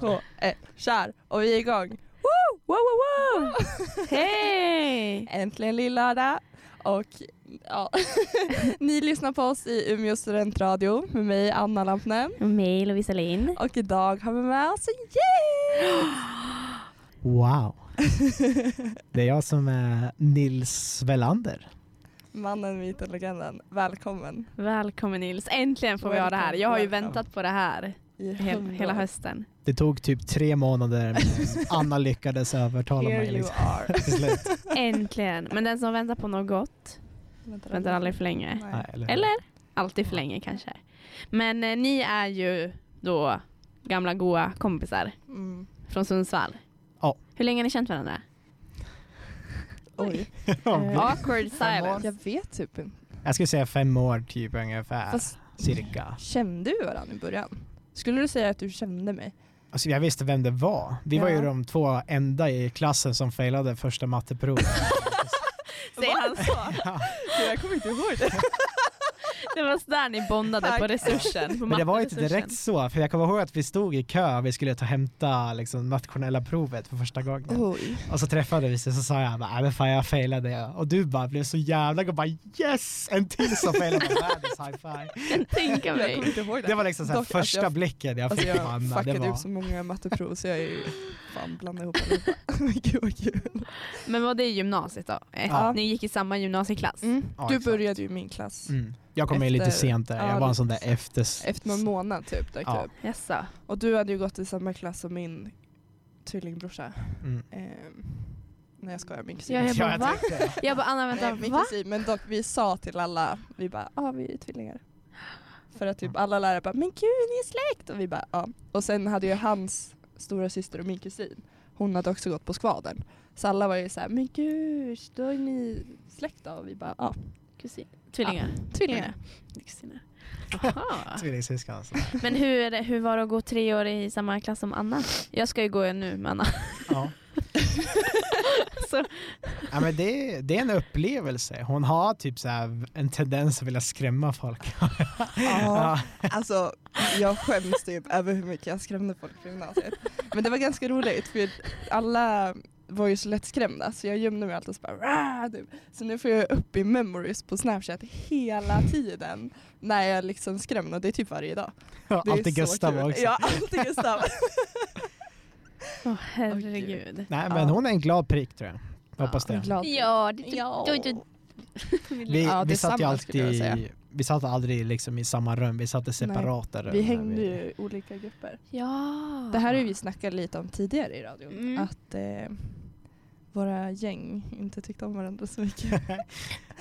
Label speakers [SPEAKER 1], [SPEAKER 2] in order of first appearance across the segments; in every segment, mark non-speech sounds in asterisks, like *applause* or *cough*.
[SPEAKER 1] två, ett, kör! Och vi är igång! Woo! Wow, wow, wow!
[SPEAKER 2] Hej!
[SPEAKER 1] Äntligen lillördag! Och ja, *laughs* ni lyssnar på oss i Umeå studentradio med mig Anna Lampnen.
[SPEAKER 2] Och mig Lovisa Lind.
[SPEAKER 1] Och idag har vi med oss en
[SPEAKER 2] *gasps*
[SPEAKER 1] gäst!
[SPEAKER 3] Wow. Det är jag som är Nils Velander.
[SPEAKER 1] Mannen, myten, legenden. Välkommen!
[SPEAKER 2] Välkommen Nils. Äntligen får vi ha det här. Jag har ju
[SPEAKER 1] Välkommen.
[SPEAKER 2] väntat på det här
[SPEAKER 1] I
[SPEAKER 2] hel,
[SPEAKER 1] hundra
[SPEAKER 2] hela
[SPEAKER 1] år.
[SPEAKER 2] hösten.
[SPEAKER 3] Det tog typ tre
[SPEAKER 1] *laughs*
[SPEAKER 3] månader men Anna lyckades övertala
[SPEAKER 1] Here
[SPEAKER 3] mig.
[SPEAKER 1] you
[SPEAKER 3] Liksom. *laughs*
[SPEAKER 1] are.
[SPEAKER 3] Till slut.
[SPEAKER 2] Äntligen. Men den som väntar på något gott väntar aldrig för länge.
[SPEAKER 1] Nej.
[SPEAKER 3] Nej, eller?
[SPEAKER 2] Eller? Alltid för länge kanske. Men eh, ni är ju då gamla goa kompisar
[SPEAKER 1] Mm.
[SPEAKER 2] från Sundsvall.
[SPEAKER 3] Ja.
[SPEAKER 2] Hur länge har ni känt varandra?
[SPEAKER 1] Oj,
[SPEAKER 3] *laughs* Ja.
[SPEAKER 2] Awkward silence.
[SPEAKER 1] jag vet typ inte.
[SPEAKER 3] Jag skulle säga fem år typ ungefär.
[SPEAKER 1] Fast
[SPEAKER 3] Cirka.
[SPEAKER 1] kände vi varandra i början? Skulle du säga att du kände mig?
[SPEAKER 3] Alltså, jag visste vem det var. Vi var
[SPEAKER 1] Ja.
[SPEAKER 3] ju de två enda i klassen som failade
[SPEAKER 1] *laughs*
[SPEAKER 3] första matteprovet.
[SPEAKER 2] Säger han så?
[SPEAKER 1] Jag kommer inte ihåg det.
[SPEAKER 2] *laughs* Det var så där ni bondade
[SPEAKER 1] Tack.
[SPEAKER 2] på resursen. På
[SPEAKER 3] Men det var inte
[SPEAKER 2] matteresursen.
[SPEAKER 3] direkt så, för jag kommer ihåg att vi stod i kö, vi skulle ta och hämta liksom, nationella provet för första gången.
[SPEAKER 1] Oj.
[SPEAKER 3] Och så träffade vi sig så sa jag bara, "Nej, men fan jag failade ja." och du bara blev så jävla glad bara yes! En till som failade världens high five.
[SPEAKER 1] *laughs*
[SPEAKER 2] Tänka
[SPEAKER 1] Jag
[SPEAKER 2] mig.
[SPEAKER 1] kommer inte ihåg det.
[SPEAKER 3] Det var liksom så här
[SPEAKER 1] Dock,
[SPEAKER 3] första
[SPEAKER 1] alltså, jag-
[SPEAKER 3] blicken jag
[SPEAKER 1] Alltså
[SPEAKER 3] fick på
[SPEAKER 1] jag
[SPEAKER 3] Anna. Det
[SPEAKER 1] fuckade
[SPEAKER 3] var,
[SPEAKER 1] upp så många matteprov så jag är ju fan blandade ihop
[SPEAKER 3] *laughs*
[SPEAKER 1] allihopa. Oh Men Gud vad kul.
[SPEAKER 2] Men var det i gymnasiet då? Eh,
[SPEAKER 3] Ja.
[SPEAKER 2] Ni gick i samma gymnasieklass?
[SPEAKER 3] Ja,
[SPEAKER 1] Mm. Du
[SPEAKER 3] exakt.
[SPEAKER 1] började ju i min klass.
[SPEAKER 3] mm. Jag kom in
[SPEAKER 1] Efter-
[SPEAKER 3] lite sent där,
[SPEAKER 1] ja,
[SPEAKER 3] jag var en sån där
[SPEAKER 1] lite
[SPEAKER 3] efter...
[SPEAKER 1] Efter någon månad typ dök
[SPEAKER 3] Ja.
[SPEAKER 1] du upp.
[SPEAKER 2] Jaså?
[SPEAKER 1] Och du hade ju gått i samma klass som min tvillingbrorsa.
[SPEAKER 3] Mm.
[SPEAKER 1] Ehm, nej jag skojar, min kusin.
[SPEAKER 2] Ja, jag
[SPEAKER 3] Ja,
[SPEAKER 2] bara
[SPEAKER 3] jag
[SPEAKER 2] va?
[SPEAKER 3] tänkte det.
[SPEAKER 2] Jag bara Anna vänta,
[SPEAKER 1] nej, min
[SPEAKER 2] va?
[SPEAKER 1] kusin. Men dock vi sa till alla, vi bara ja ah, vi är tvillingar. För att typ alla lärare bara men gud ni är släkt! Och vi bara ja. Och sen hade ju hans stora syster och min kusin, hon hade också gått på skvadern. Så alla var ju såhär, men gud, då är ni släkt då? Och vi bara ja,
[SPEAKER 2] Kusin. Tvillingar.
[SPEAKER 1] tvillingar.
[SPEAKER 2] Kusiner. Aha.
[SPEAKER 3] Tvillingsyskon. alltså.
[SPEAKER 2] Men hur, är det- hur var det att gå tre år i samma klass som Anna? Jag ska ju gå nu med Anna.
[SPEAKER 1] *laughs*
[SPEAKER 3] Ja.
[SPEAKER 2] Så,
[SPEAKER 3] Ja, men det, det är en upplevelse. Hon har typ så här en tendens att vilja skrämma folk. *laughs*
[SPEAKER 1] Ja, alltså jag skäms typ över hur mycket jag skrämde folk på gymnasiet. Men det var ganska roligt för alla var ju så lättskrämda så jag gömde mig alltid och så bara "Rah!" typ. Så nu får jag upp i memories på snapchat hela tiden när jag liksom skrämmer och det är typ varje dag. Det är
[SPEAKER 3] Alltid
[SPEAKER 1] så
[SPEAKER 3] Gustav
[SPEAKER 1] kul.
[SPEAKER 3] också.
[SPEAKER 1] Ja, alltid Gustav.
[SPEAKER 2] Åh herregud.
[SPEAKER 3] Nej men
[SPEAKER 1] Ja.
[SPEAKER 3] hon är en glad prick tror jag. *laughs* Hoppas
[SPEAKER 1] Jag
[SPEAKER 3] det.
[SPEAKER 1] är typ- glad.
[SPEAKER 2] Ja, det,
[SPEAKER 1] Ja.
[SPEAKER 2] du, du,
[SPEAKER 3] Vi,
[SPEAKER 1] Ja,
[SPEAKER 3] vi satt ju
[SPEAKER 1] detsamma skulle
[SPEAKER 3] alltid
[SPEAKER 1] jag
[SPEAKER 3] i, vi satt aldrig liksom i samma rum, vi satt i separata rum.
[SPEAKER 1] Vi
[SPEAKER 3] när
[SPEAKER 1] hängde
[SPEAKER 3] vi-
[SPEAKER 1] ju i olika grupper.
[SPEAKER 2] ja.
[SPEAKER 1] Det här har ju vi snackat lite om tidigare i radion.
[SPEAKER 2] Mm.
[SPEAKER 1] Att eh, våra gäng inte tyckte om varandra så
[SPEAKER 3] *laughs*
[SPEAKER 1] mycket.
[SPEAKER 3] *laughs*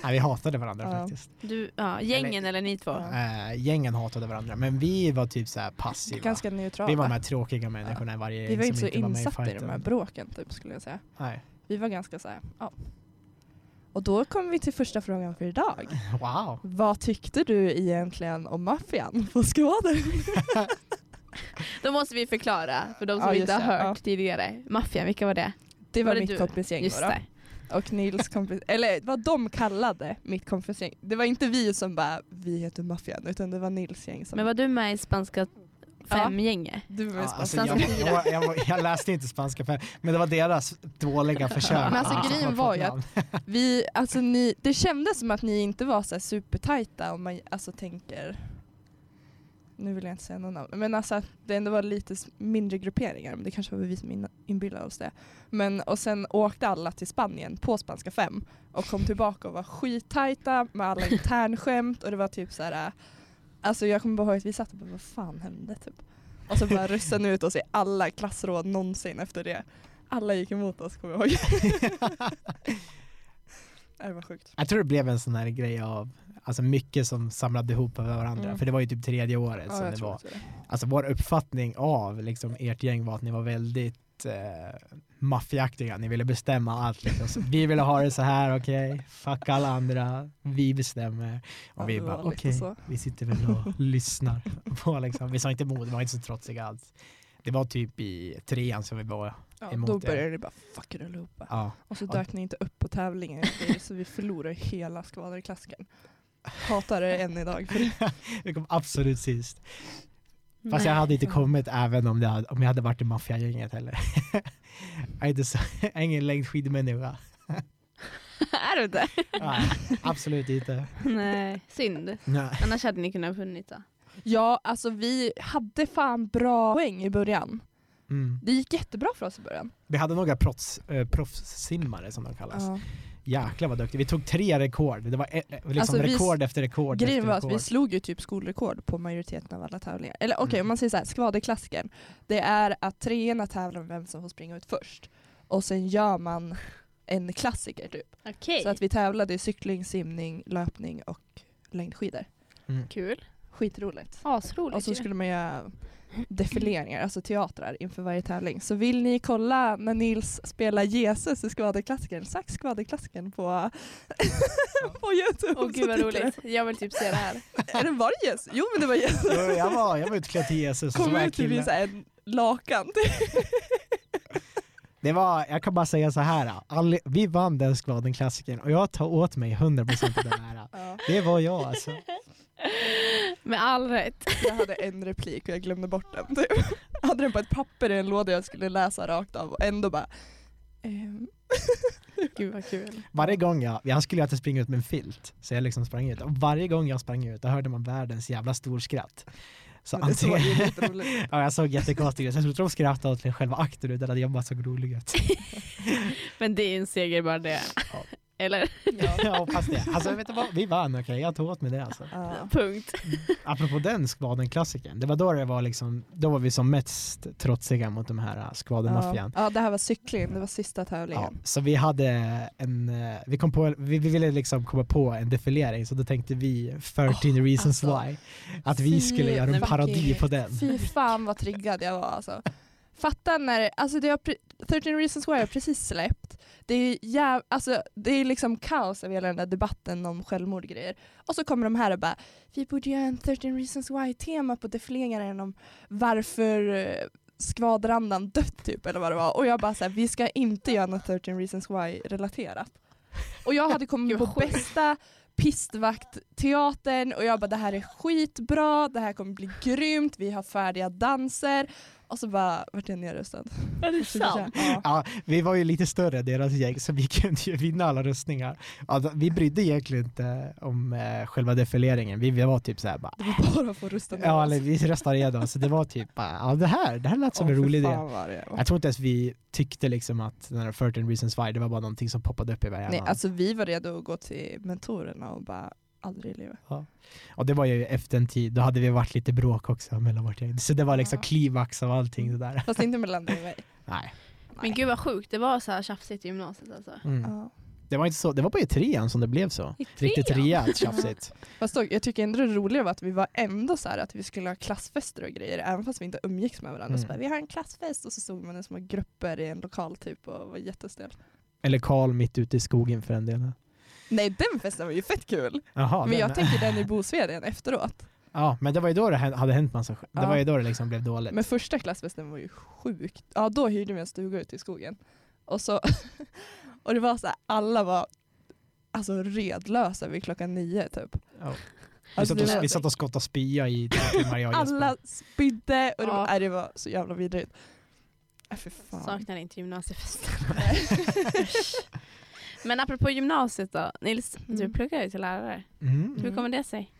[SPEAKER 3] Nej, vi hatade varandra
[SPEAKER 1] Ja.
[SPEAKER 3] faktiskt.
[SPEAKER 2] du, ja, gängen eller,
[SPEAKER 3] Eller-
[SPEAKER 2] ni två?
[SPEAKER 1] Ja.
[SPEAKER 3] Eh, gängen hatade varandra, men vi var typ så här passiva.
[SPEAKER 1] Ganska neutrala.
[SPEAKER 3] vi var de här tråkiga människorna i varje
[SPEAKER 1] Vi
[SPEAKER 3] gäng
[SPEAKER 1] var inte så
[SPEAKER 3] som inte var med i
[SPEAKER 1] insatta i
[SPEAKER 3] fighten.
[SPEAKER 1] de här bråken typ skulle jag säga.
[SPEAKER 3] Nej. *laughs*
[SPEAKER 1] Vi var ganska så här, ja. Och då kommer vi till första frågan för idag.
[SPEAKER 3] Wow.
[SPEAKER 1] Vad tyckte du egentligen om maffian på skådor?
[SPEAKER 2] Då måste vi förklara för de
[SPEAKER 1] Ja,
[SPEAKER 2] som
[SPEAKER 1] just
[SPEAKER 2] inte har
[SPEAKER 1] det,
[SPEAKER 2] hört
[SPEAKER 1] ja.
[SPEAKER 2] tidigare. Maffian, vilka var det?
[SPEAKER 1] Det var,
[SPEAKER 2] Var det
[SPEAKER 1] mitt
[SPEAKER 2] du?
[SPEAKER 1] kompisgäng
[SPEAKER 2] Just
[SPEAKER 1] då,
[SPEAKER 2] det.
[SPEAKER 1] och Nils kompis, eller vad de kallade mitt kompisgäng. Det var inte vi som bara, vi heter maffian, utan det var Nils gäng som...
[SPEAKER 2] Men var du med i spanska femgänge?
[SPEAKER 1] du var
[SPEAKER 3] Ja,
[SPEAKER 1] ja,
[SPEAKER 3] alltså,
[SPEAKER 2] spanska
[SPEAKER 3] jag, jag, jag, jag läste inte spanska för, men det var deras dåliga försök.
[SPEAKER 1] Men alltså, grejen var ju att- Vi, alltså ni, det kändes som att ni inte var så här supertajta om man alltså tänker nu vill jag inte säga någon namn, men alltså att det ändå var lite s- mindre grupperingar, men det kanske var vi som in- inbillade oss det. Men, och sen åkte alla till Spanien på Spanska 5 och kom tillbaka och var skittajta med alla internskämt och det var typ så här. äh, alltså jag kommer bara ihåg att vi satt och bara vad fan hände typ. Och så bara ryssade ut oss i alla klassråd någonsin efter det. Alla gick emot oss kommer jag ihåg. *laughs*
[SPEAKER 3] *laughs*
[SPEAKER 1] Nej, Det var sjukt.
[SPEAKER 3] Jag tror det blev en sån här grej av alltså mycket som samlade ihop över varandra,
[SPEAKER 1] Mm.
[SPEAKER 3] för det var ju typ tredje året som det var. Alltså vår uppfattning av liksom, ert gäng var att ni var väldigt eh, maffiaktiga, ni ville bestämma allt. Liksom. Så vi ville ha det så här, okej, fuck alla andra, vi bestämmer. Och
[SPEAKER 1] Ja,
[SPEAKER 3] vi
[SPEAKER 1] det var
[SPEAKER 3] bara,
[SPEAKER 1] lite
[SPEAKER 3] okej,
[SPEAKER 1] så.
[SPEAKER 3] vi sitter väl och lyssnar. *laughs* På, liksom. Vi sa inte emot, vi var inte så trotsiga alls. Det var typ i trean som vi var,
[SPEAKER 1] Ja,
[SPEAKER 3] emot
[SPEAKER 1] då
[SPEAKER 3] det.
[SPEAKER 1] började det bara fuck it allihopa.
[SPEAKER 3] ja.
[SPEAKER 1] Och så
[SPEAKER 3] Ja.
[SPEAKER 1] dök ni inte upp på tävlingen efter, så vi förlorade hela
[SPEAKER 3] *laughs*
[SPEAKER 1] skvaderklassen. Hatar er än idag för det.
[SPEAKER 3] Vi kom absolut sist. Fast jag hade inte kommit även om, det hade, om jag hade varit i maffiagänget heller. *laughs* jag är, inte så, *laughs* jag är ingen längdskidmänniska.
[SPEAKER 2] *laughs* är du inte?
[SPEAKER 3] Nej, absolut inte.
[SPEAKER 2] Nej, synd.
[SPEAKER 3] Nej.
[SPEAKER 2] Annars hade ni kunnat funnits då.
[SPEAKER 1] Ja, alltså vi hade fan bra poäng i början.
[SPEAKER 3] Mm.
[SPEAKER 1] Det gick jättebra för oss i början.
[SPEAKER 3] Vi hade några proffs, eh, proffssimmare som de kallas. Jäklar vad duktiga. Vi tog tre rekord. Det var eh, liksom
[SPEAKER 1] Alltså, vi-
[SPEAKER 3] rekord efter rekord.
[SPEAKER 1] Grejen
[SPEAKER 3] efter
[SPEAKER 1] var att vi
[SPEAKER 3] rekord.
[SPEAKER 1] slog ju typ skolrekord på majoriteten av alla tävlingar. Eller okej,
[SPEAKER 3] Mm.
[SPEAKER 1] om man säger så här, skvaderklassiken. Det är att treorna tävlar om vem som får springa ut först. Och sen gör man en klassiker typ.
[SPEAKER 2] Okej.
[SPEAKER 1] Så att vi tävlade i cykling, simning, löpning och längdskidor. *laughs*
[SPEAKER 3] Mm.
[SPEAKER 2] Kul.
[SPEAKER 1] Skitroligt.
[SPEAKER 2] Asroligt
[SPEAKER 1] Och så
[SPEAKER 2] ju.
[SPEAKER 1] skulle man göra defileringar, alltså teatrar inför varje tävling. Så vill ni kolla när Nils spelar Jesus i skvaderklassikern, sax skvaderklassikern
[SPEAKER 3] *laughs*
[SPEAKER 1] på, på Youtube.
[SPEAKER 2] Åh gud vad
[SPEAKER 1] Så tittar
[SPEAKER 2] roligt. Jag vill typ se det här.
[SPEAKER 1] jag- Eller var det Jesus? Jo men det var Jesus.
[SPEAKER 3] Jo, jag, var, jag var utklädd till Jesus. och så
[SPEAKER 1] Kom
[SPEAKER 3] var jag
[SPEAKER 1] ut typ i
[SPEAKER 3] kille.
[SPEAKER 1] så här en lakan. typ?
[SPEAKER 3] Det var, jag kan bara säga så här. All, vi vann den skvaden-klassikern och jag tar åt mig 100% av den
[SPEAKER 1] *laughs*
[SPEAKER 3] här. Det var jag alltså.
[SPEAKER 2] Med all rätt.
[SPEAKER 1] Jag hade en replik och jag glömde bort den. Typ. Jag hade den på ett papper i en låda jag skulle läsa rakt av och ändå bara ehm,
[SPEAKER 2] Gud vad kul.
[SPEAKER 3] Varje gång jag, jag skulle ju alltid springa ut med en filt, så jag liksom sprang ut. Och varje gång jag sprang ut, då hörde man världens jävla storskratt. Så
[SPEAKER 1] men det såg
[SPEAKER 3] antingen,
[SPEAKER 1] ju lite roligt ut.
[SPEAKER 3] *laughs* ja, jag såg jättekonstig ut, så jag trodde de skrattade åt själva akten utan att jag bara såg rolig ut.
[SPEAKER 2] Men det är en seger bara det.
[SPEAKER 3] Ja.
[SPEAKER 2] Eller?
[SPEAKER 1] *laughs*
[SPEAKER 3] *laughs*
[SPEAKER 1] Ja.
[SPEAKER 3] Jag hoppas det. Alltså vet du vad, vi vann okej, jag tog åt mig det alltså.
[SPEAKER 1] Ja.
[SPEAKER 2] Punkt.
[SPEAKER 3] Apropå den skvaden-klassikern, det var då det var liksom, då var vi som mest trotsiga mot de här äh, skvaden-maffian.
[SPEAKER 1] Ja, det här var cykling, det var sista
[SPEAKER 3] Ja,
[SPEAKER 1] tävlingen.
[SPEAKER 3] så vi hade en, eh, vi, kom på, vi, vi ville liksom komma på en defilering så då tänkte vi 13 reasons
[SPEAKER 1] alltså.
[SPEAKER 3] why. Att vi
[SPEAKER 1] Fy,
[SPEAKER 3] skulle göra en
[SPEAKER 2] nej, men
[SPEAKER 3] parodi
[SPEAKER 2] gud.
[SPEAKER 3] på den.
[SPEAKER 1] Fy fan vad triggad jag var alltså. Fatta när, alltså det har, pre- 13 reasons why har precis släppt. Det är, jäv, alltså, det är liksom kaos över hela den där debatten om självmord och grejer. Och så kommer de här och bara, vi borde göra en 13 reasons why tema på defileringen om varför eh, skvadrandan dött typ eller vad det var. Och jag bara såhär, vi ska inte göra något 13 reasons why relaterat. Och jag hade kommit
[SPEAKER 2] Gud,
[SPEAKER 1] *laughs* på
[SPEAKER 2] vad sjukt.
[SPEAKER 1] bästa pistvaktteatern och jag bara det här är skitbra, det här kommer bli grymt, vi har färdiga danser. Och så bara vart är jag nerröstad. *laughs*
[SPEAKER 2] Är Alltså, det
[SPEAKER 1] Ja.
[SPEAKER 3] Ja, vi var ju lite större än deras gäng så vi *laughs* kunde ju vinna alla röstningar. Ja, då- vi brydde egentligen inte om eh, själva defileringen, vi, vi var typ såhär bara
[SPEAKER 1] Det var bara för att rösta ner
[SPEAKER 3] Ja,
[SPEAKER 1] oss.
[SPEAKER 3] eller vi röstade igenom så det var typ bara, ja det här, det här lät som
[SPEAKER 1] Åh,
[SPEAKER 3] en
[SPEAKER 1] fy
[SPEAKER 3] rolig idé.
[SPEAKER 1] fan vad det var.
[SPEAKER 3] Jag tror inte ens vi tyckte liksom att den här 13 reasons why, det var bara någonting som poppade upp i varje
[SPEAKER 1] Nej, alltså vi var redo att gå till mentorerna och bara aldrig i livet.
[SPEAKER 3] Och det var ju efter en tid, då hade vi varit lite bråk också mellan vårt gäng. Så det var liksom
[SPEAKER 1] Ja.
[SPEAKER 3] klimax av allting det där.
[SPEAKER 1] Fast inte mellan dig och mig.
[SPEAKER 3] Nej.
[SPEAKER 2] Men gud vad sjukt. Det var så här tjafsigt i gymnasiet alltså.
[SPEAKER 3] Mm.
[SPEAKER 1] Ja.
[SPEAKER 3] Det var inte så, det var bara i trean som det blev så.
[SPEAKER 2] I
[SPEAKER 3] Riktigt
[SPEAKER 2] trean?
[SPEAKER 1] *laughs*
[SPEAKER 3] rejält tjafsigt.
[SPEAKER 1] Fast då, jag tycker ändå det roliga var att vi var ändå så här att vi skulle ha klassfester och grejer även fast vi inte umgicks med varandra. Så
[SPEAKER 3] Mm.
[SPEAKER 1] bara, vi har en klassfest och så stod man i små grupper i en lokal typ och var jättestel.
[SPEAKER 3] Eller Karl mitt ute i skogen för en del.
[SPEAKER 1] Nej den festen var ju fett kul!
[SPEAKER 3] Jaha,
[SPEAKER 1] men jag
[SPEAKER 3] den-
[SPEAKER 1] tänker den i Bosveden
[SPEAKER 3] *laughs*
[SPEAKER 1] efteråt.
[SPEAKER 3] Ja, men det var ju då det hä- hade hänt massa skit. Det
[SPEAKER 1] Ja.
[SPEAKER 3] var ju då det liksom blev dåligt.
[SPEAKER 1] Men första klassfesten var ju sjukt. Ja då hyrde vi en stuga ute i skogen. Och, så *laughs* och det var så här, alla var alltså redlösa vid klockan nio typ.
[SPEAKER 3] Ja. Vi,
[SPEAKER 1] Alltså,
[SPEAKER 3] satt
[SPEAKER 1] det
[SPEAKER 3] och,
[SPEAKER 1] var-
[SPEAKER 3] vi satt och skottade spya i två timmar jag och Jesper.
[SPEAKER 1] alla spydde och det, var,
[SPEAKER 2] Ja.
[SPEAKER 1] nej, det var så jävla vidrigt. Äh, för fan.
[SPEAKER 2] Saknar inte gymnasiefesten. *laughs* Men apropå gymnasiet då. Nils, du
[SPEAKER 1] Mm.
[SPEAKER 2] pluggar ju till lärare.
[SPEAKER 3] Mm.
[SPEAKER 2] Hur kommer det sig?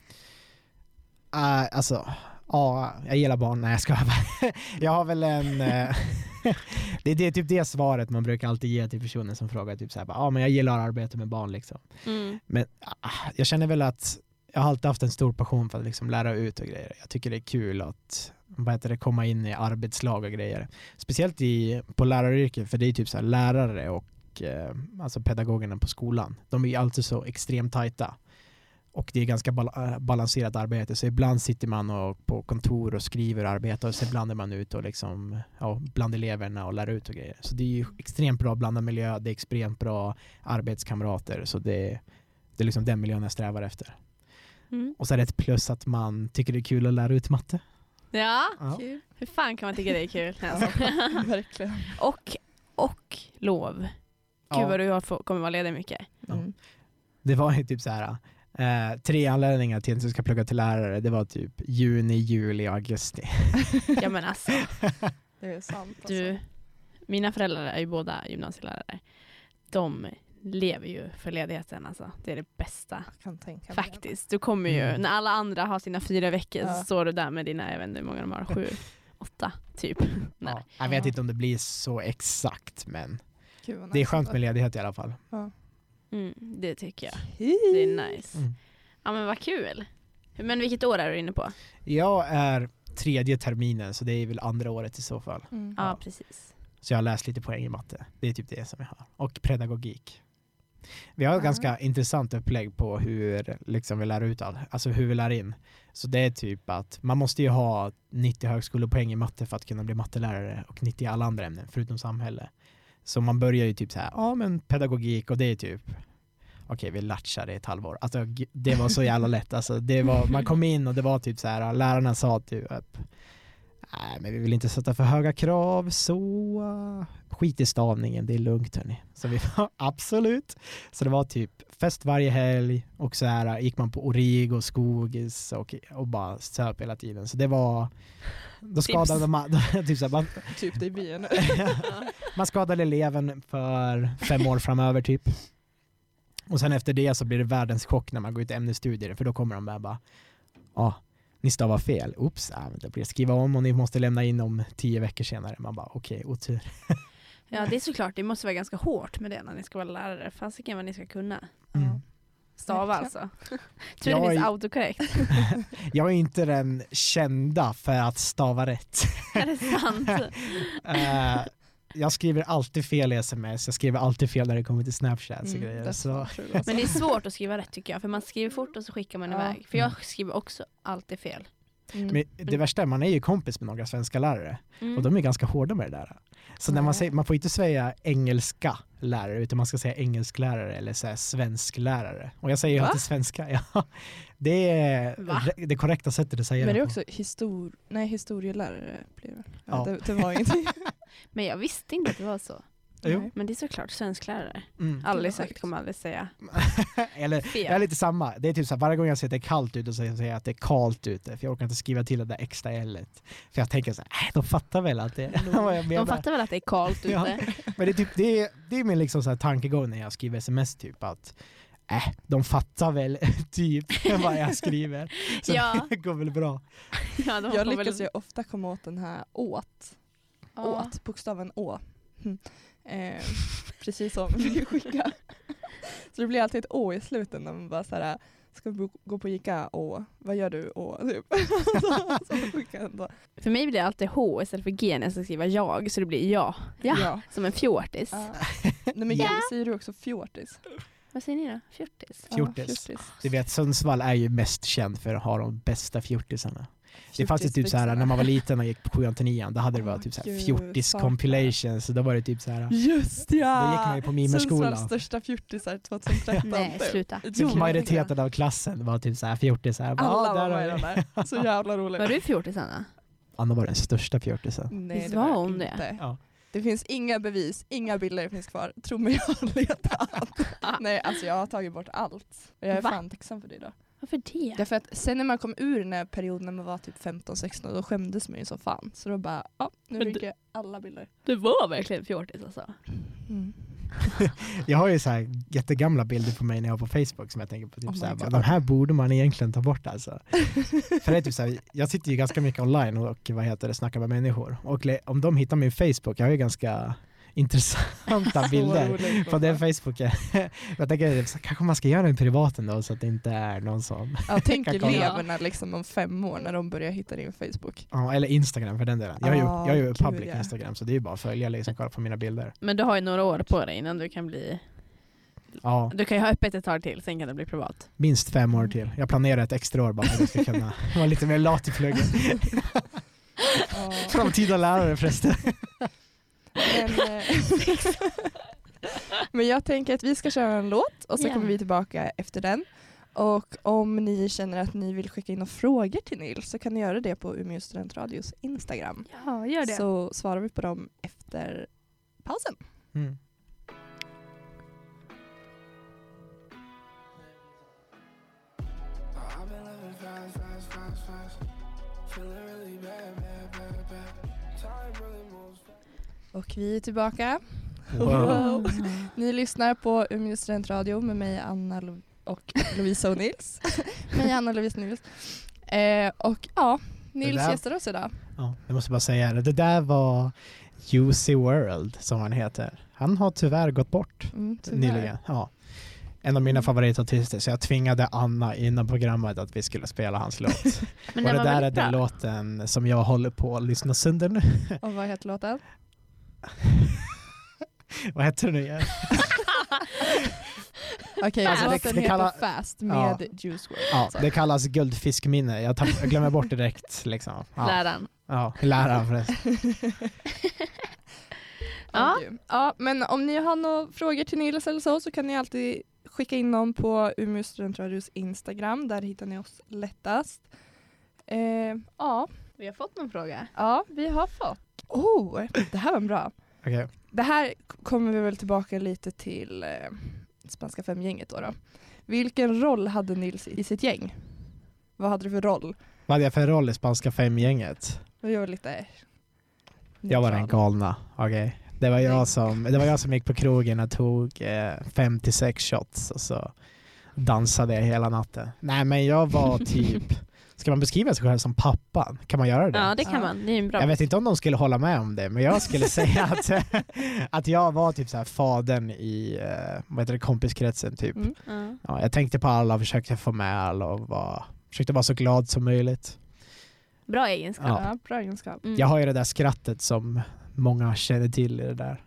[SPEAKER 3] Uh, alltså, ja, jag gillar barn. Nej, jag ska bara. *laughs* Jag har väl en... eh, *laughs* det, det är typ det svaret man brukar alltid ge till personer som frågar typ så här, bara, ja men jag gillar arbete med barn liksom.
[SPEAKER 2] Mm.
[SPEAKER 3] Men ah, jag känner väl att jag har alltid haft en stor passion för att liksom lära ut och grejer. Jag tycker det är kul att vad heter det, komma in i arbetslag och grejer. Speciellt i, på läraryrket, för det är typ så här lärare och eh, alltså pedagogerna på skolan. De är ju alltid så extremt tajta. Och det är ganska bal- äh, balanserat arbete, så ibland sitter man och på kontor och skriver och arbetar och sen ibland är man ute och liksom, ja, bland eleverna och lär ut och grejer. Så det är ju extremt bra blandad miljö, det är extremt bra arbetskamrater, så det det är liksom den miljön jag strävar efter.
[SPEAKER 2] Mm.
[SPEAKER 3] Och så är det ett plus att man tycker det är kul att lära ut matte.
[SPEAKER 2] Ja,
[SPEAKER 3] Ja. *laughs*
[SPEAKER 1] Kul.
[SPEAKER 2] hur fan kan man tycka det är kul? Nej, alltså.
[SPEAKER 1] Verkligen.
[SPEAKER 2] och, *laughs* och
[SPEAKER 3] Mm.
[SPEAKER 2] lov. Gud vad du har få- kommer vara ledig mycket.
[SPEAKER 3] Det var ju typ så här, Eh, tre anledningar till att du ska plugga till lärare, det var typ juni, juli, augusti.
[SPEAKER 2] Ja men alltså,
[SPEAKER 1] Det är sant alltså.
[SPEAKER 2] du, mina föräldrar är ju båda gymnasielärare. De lever ju för ledigheten alltså. Det är det bästa.
[SPEAKER 1] Jag kan tänka mig.
[SPEAKER 2] Faktiskt. Du kommer ju,
[SPEAKER 3] Mm.
[SPEAKER 2] när alla andra har sina fyra veckor
[SPEAKER 1] Ja.
[SPEAKER 2] så står du där med dina, jag vet inte hur många de har, sju, åtta typ. Nej.
[SPEAKER 3] Ja, jag vet inte om det blir så exakt men
[SPEAKER 1] Gud, vad
[SPEAKER 3] det är
[SPEAKER 1] nice
[SPEAKER 3] skönt
[SPEAKER 1] ändå.
[SPEAKER 3] med ledighet i alla fall.
[SPEAKER 2] Mm, det tycker jag.
[SPEAKER 1] Hej.
[SPEAKER 2] Det är nice.
[SPEAKER 3] Mm.
[SPEAKER 2] Ja men vad kul. Men vilket år är du inne på?
[SPEAKER 3] Jag är tredje terminen så det är väl andra året i så fall.
[SPEAKER 1] Mm.
[SPEAKER 2] Ja,
[SPEAKER 3] Ja.
[SPEAKER 2] precis.
[SPEAKER 3] Så jag har läst lite poäng i matte. Det är typ det som jag har. Och pedagogik. Vi har ett
[SPEAKER 1] Ah.
[SPEAKER 3] ganska intressant upplägg på hur liksom, vi lär ut all, alltså hur vi lär in. Så det är typ att man måste ju ha 90 högskolepoäng i matte för att kunna bli mattelärare och 90 i alla andra ämnen förutom samhälle. Så man börjar ju typ så här, ja men pedagogik och det är typ Okej, vi latchade i ett halvår. Alltså, g- det var så jävla lätt. Alltså, det var, man kom in och det var typ så här, lärarna sa typ Nej, men vi vill inte sätta för höga krav, så eh, skit i stavningen, det är lugnt hörni. Så vi var *laughs* absolut. Så det var typ fest varje helg och så här eh, gick man på Origo, Skogis och, och bara söp hela tiden. Så det var, då
[SPEAKER 2] Tips.
[SPEAKER 3] skadade man, *laughs* typ så här, man,
[SPEAKER 1] Typ det är vi
[SPEAKER 3] *laughs*
[SPEAKER 1] nu.
[SPEAKER 3] man skadade eleven för fem år framöver typ. Och sen efter det så blir det världens chock när man går ut i ämnesstudier för då kommer de där bara ja, ah, ni stavar fel, oops, ah, men det blir skriva om och ni måste lämna in om tio veckor senare. Man bara okej, otur.
[SPEAKER 2] Ja det är såklart, det måste vara ganska hårt med det när ni ska vara lärare. Fasiken vad ni ska kunna.
[SPEAKER 1] Ja.
[SPEAKER 2] Stava
[SPEAKER 1] Verkligen.
[SPEAKER 2] alltså. Tur det
[SPEAKER 3] Jag
[SPEAKER 2] finns
[SPEAKER 3] är-
[SPEAKER 2] autokorrekt.
[SPEAKER 3] *laughs* Jag är inte den kända för att stava rätt.
[SPEAKER 2] är det sant?
[SPEAKER 3] *laughs* Eh, jag skriver alltid fel i sms, jag skriver alltid fel när det kommer till snapchat och
[SPEAKER 1] Mm,
[SPEAKER 3] grejer.
[SPEAKER 1] that's
[SPEAKER 3] Så,
[SPEAKER 1] not true, alltså.
[SPEAKER 2] Men det är svårt att skriva rätt tycker jag. För man skriver fort och så skickar man
[SPEAKER 1] Ja.
[SPEAKER 2] iväg. För jag skriver också alltid fel.
[SPEAKER 1] Mm.
[SPEAKER 3] men det värsta är man är ju kompis med några svenska lärare.
[SPEAKER 2] Mm.
[SPEAKER 3] Och de är ganska hårda med det där. Så när
[SPEAKER 1] Nej.
[SPEAKER 3] man, säger, man får inte säga engelska lärare utan man ska säga engelsklärare eller så här svensklärare. Och jag säger ju
[SPEAKER 1] Va?
[SPEAKER 3] alltid svenska. *laughs* Ja. Det är
[SPEAKER 2] Va?
[SPEAKER 3] re- det korrekta sättet att säga
[SPEAKER 1] Men det
[SPEAKER 3] det
[SPEAKER 1] är
[SPEAKER 3] på.
[SPEAKER 1] också histor nej, historielärare blir det. Ja.
[SPEAKER 3] Ja.
[SPEAKER 1] Det, det var ingenting.
[SPEAKER 2] Men jag visste inte att det var så.
[SPEAKER 3] *laughs* Jo.
[SPEAKER 1] Nej.
[SPEAKER 2] Men det är såklart svensklärare.
[SPEAKER 3] Mm.
[SPEAKER 2] Aldrig
[SPEAKER 1] Det var
[SPEAKER 2] sagt, kommer aldrig säga
[SPEAKER 3] *laughs* eller, jag är
[SPEAKER 2] fel.
[SPEAKER 3] lite samma. Det är typ så här, varje gång jag säger att det är kallt ute så säger jag att det är kalt ute för jag orkar inte skriva till det där extra l För jag tänker så här, äh, de fattar väl att det är *laughs* vad jag menar.
[SPEAKER 2] De fattar väl att det är kallt ute.
[SPEAKER 3] Ja. Men det är, typ, det är, det är min liksom så här tankegång när jag skriver sms typ att äh, de fattar väl *laughs* typ vad jag skriver. Så
[SPEAKER 2] Ja.
[SPEAKER 3] *laughs* det går väl bra.
[SPEAKER 2] Ja, de
[SPEAKER 1] Jag
[SPEAKER 2] får
[SPEAKER 1] lyckas
[SPEAKER 2] väl...
[SPEAKER 1] ju ofta komma åt den här åt,
[SPEAKER 2] Ja.
[SPEAKER 1] åt bokstaven å. Mm. Eh,
[SPEAKER 2] *laughs*
[SPEAKER 1] precis som vi vill skicka. Så det blir alltid ett å i slutet när man bara såhär, ska vi bo- gå på Ica? Å, vad gör du? Å, typ. *laughs* så, så skickar jag ändå.
[SPEAKER 2] För mig blir det alltid H istället för G när jag ska skriva jag. Så det blir ja. Ja. Som en fjortis.
[SPEAKER 1] Ah. Nej men
[SPEAKER 3] Ja.
[SPEAKER 1] jag säger du också fjortis?
[SPEAKER 2] Vad säger ni då? Fjortis?
[SPEAKER 1] Ja,
[SPEAKER 3] Fjortis. Du vet Sundsvall är ju mest känd för att ha de bästa fjortisarna. Det fanns ju typ så här när man var liten och gick på 7 till 9 då hade det
[SPEAKER 1] Åh,
[SPEAKER 3] varit typ så här
[SPEAKER 1] gud,
[SPEAKER 3] fjortis
[SPEAKER 1] saknar.
[SPEAKER 3] compilation så då var det typ så här
[SPEAKER 1] Just ja!
[SPEAKER 3] Då gick man ju på mimerskolan.
[SPEAKER 1] Sundsvalls största fjortisar 2013.
[SPEAKER 2] Nej,
[SPEAKER 1] typ.
[SPEAKER 2] sluta.
[SPEAKER 1] Jo,
[SPEAKER 3] så majoriteten av klassen var typ så här fjortisar. Jag bara,
[SPEAKER 1] Alla
[SPEAKER 3] "Ah,
[SPEAKER 1] var
[SPEAKER 3] där
[SPEAKER 1] med
[SPEAKER 3] har
[SPEAKER 1] i
[SPEAKER 3] vi."
[SPEAKER 1] den där. Så jävla roligt.
[SPEAKER 2] Var du fjortis Anna?
[SPEAKER 3] Anna var den största fjortisen. *laughs*
[SPEAKER 1] Nej,
[SPEAKER 2] Visst
[SPEAKER 1] det var
[SPEAKER 2] var
[SPEAKER 1] jag
[SPEAKER 2] hon det?
[SPEAKER 1] inte. det?
[SPEAKER 3] Ja.
[SPEAKER 1] Det finns inga bevis, inga bilder finns kvar. Tro mig, jag har letat.
[SPEAKER 2] *laughs*
[SPEAKER 1] Nej, alltså jag har tagit bort allt. Och jag är
[SPEAKER 2] Va?
[SPEAKER 1] fan tacksam för det idag.
[SPEAKER 2] Varför det?
[SPEAKER 1] Därför att sen när man kom ur den här perioden när man var typ 15-16 då skämdes man ju som fan. Så då bara, ja, nu
[SPEAKER 2] Men
[SPEAKER 1] rycker jag alla bilder.
[SPEAKER 2] Du var verkligen fjortis alltså.
[SPEAKER 1] Mm.
[SPEAKER 3] Jag har ju så här jättegamla bilder på mig när jag var på Facebook som jag tänker på. Typ
[SPEAKER 1] Oh my
[SPEAKER 3] så här, bara,
[SPEAKER 1] God.
[SPEAKER 3] de här borde man egentligen ta bort alltså.
[SPEAKER 1] *laughs*
[SPEAKER 3] För det är typ så här, jag sitter ju ganska mycket online och vad heter det, snackar med människor. Och le- om de hittar min Facebook, jag har ju ganska
[SPEAKER 1] *laughs*
[SPEAKER 3] intressanta bilder på den Facebooken. *laughs* jag tänker typ så här, kanske man ska göra den privat ändå så att det inte är någon som,
[SPEAKER 1] Ja, tänk
[SPEAKER 3] Kan kolla.
[SPEAKER 1] eleverna liksom om fem år när de börjar hitta din Facebook.
[SPEAKER 3] Ja, eller Instagram för den delen. Jag är ju,
[SPEAKER 1] Ah,
[SPEAKER 3] jag är ju
[SPEAKER 1] gud,
[SPEAKER 3] public
[SPEAKER 1] ja.
[SPEAKER 3] Instagram så det är ju bara att följa liksom, kolla på mina bilder.
[SPEAKER 2] Men du har ju några år på dig innan du kan bli...
[SPEAKER 3] Ja,
[SPEAKER 2] Du kan ju ha öppet ett tag till, sen kan det bli privat.
[SPEAKER 3] minst fem år till. Jag planerar ett extra år bara för att jag ska kunna *laughs* vara lite mer lat i pluggen.
[SPEAKER 1] *laughs* Ja.
[SPEAKER 3] Framtida lärare förresten.
[SPEAKER 1] Men, eh, *laughs* men jag tänker att vi ska köra en låt och så
[SPEAKER 2] Ja.
[SPEAKER 1] kommer vi tillbaka efter den. Och om ni känner att ni vill skicka in några frågor till Nils så kan ni göra det på Umeå studentradios Instagram.
[SPEAKER 2] Ja, gör
[SPEAKER 1] Så svarar vi på dem efter pausen.
[SPEAKER 3] Mm.
[SPEAKER 1] Och vi är tillbaka.
[SPEAKER 3] Wow.
[SPEAKER 1] Wow. Ni lyssnar på Umeå studentradio med mig Anna Lo- och Lovisa och
[SPEAKER 2] *laughs*
[SPEAKER 1] Nils. mig Anna Lovisa och Nils. Eh, och ja, Nils
[SPEAKER 3] där-
[SPEAKER 1] gästar oss idag.
[SPEAKER 3] Ja, jag måste bara säga det. Det där var UC World som han heter. Han har tyvärr gått bort
[SPEAKER 1] Mm, tyvärr.
[SPEAKER 3] nyligen. Ja. En av mina favoritartister så jag tvingade Anna innan programmet att vi skulle spela hans låt.
[SPEAKER 2] Men
[SPEAKER 3] Och
[SPEAKER 2] den
[SPEAKER 3] det
[SPEAKER 2] var
[SPEAKER 3] där är
[SPEAKER 2] väldigt
[SPEAKER 3] den
[SPEAKER 2] bra. *laughs*
[SPEAKER 3] låten som jag håller på att lyssna sönder nu. *laughs*
[SPEAKER 1] Och vad heter låten?
[SPEAKER 3] Vad heter den nu igen?
[SPEAKER 1] Okej,
[SPEAKER 2] Fast.
[SPEAKER 1] låten
[SPEAKER 3] alltså, Det
[SPEAKER 1] heter
[SPEAKER 3] kallar-
[SPEAKER 1] Fast
[SPEAKER 3] Ja.
[SPEAKER 1] med Juice WRLD.
[SPEAKER 3] Ja,
[SPEAKER 1] Så.
[SPEAKER 3] det kallas guldfiskminne. Jag, tapp, jag glömmer bort det direkt. Liksom. Ja,
[SPEAKER 2] Läraren.
[SPEAKER 3] ja, läraren förresten.
[SPEAKER 2] Ja.
[SPEAKER 1] Okej. ja, men om ni har några frågor till Nils eller så, så kan ni alltid skicka in dem på Umeå studentradios Instagram. Där hittar ni oss lättast. Eh, ja.
[SPEAKER 2] Vi har fått någon fråga.
[SPEAKER 1] ja, vi har fått. Oh, det här var bra.
[SPEAKER 3] Okej.
[SPEAKER 1] Det här kommer vi väl tillbaka lite till eh, Spanska femgänget då, då. Vilken roll hade Nils i sitt gäng? Vad hade du för roll?
[SPEAKER 3] Vad hade jag för roll i Spanska femgänget?
[SPEAKER 1] Vi var lite...
[SPEAKER 3] Jag var
[SPEAKER 2] Liksom.
[SPEAKER 3] den
[SPEAKER 1] neutral.
[SPEAKER 3] galna. Okej. Det, var jag som, det var jag som gick på krogen och tog eh, fem till sex shots och så dansade jag hela natten. Nej men jag
[SPEAKER 2] *laughs*
[SPEAKER 3] var typ, ska man beskriva sig själv som pappan? Kan man göra det?
[SPEAKER 2] Ja, det kan
[SPEAKER 1] Ja.
[SPEAKER 2] man. Det är en bra.
[SPEAKER 3] Jag vet inte om de skulle hålla med om det, men jag skulle säga att, *laughs* att jag var typ så här fadern i eh, vad heter det, kompiskretsen. Typ.
[SPEAKER 1] Mm.
[SPEAKER 2] Ja.
[SPEAKER 3] Ja, jag tänkte på alla och försökte få med alla och var, försökte vara så glad som möjligt.
[SPEAKER 2] Bra egenskap.
[SPEAKER 3] Ja.
[SPEAKER 1] Ja, bra egenskap.
[SPEAKER 2] Mm.
[SPEAKER 3] Jag har ju det där skrattet som många känner till i det där.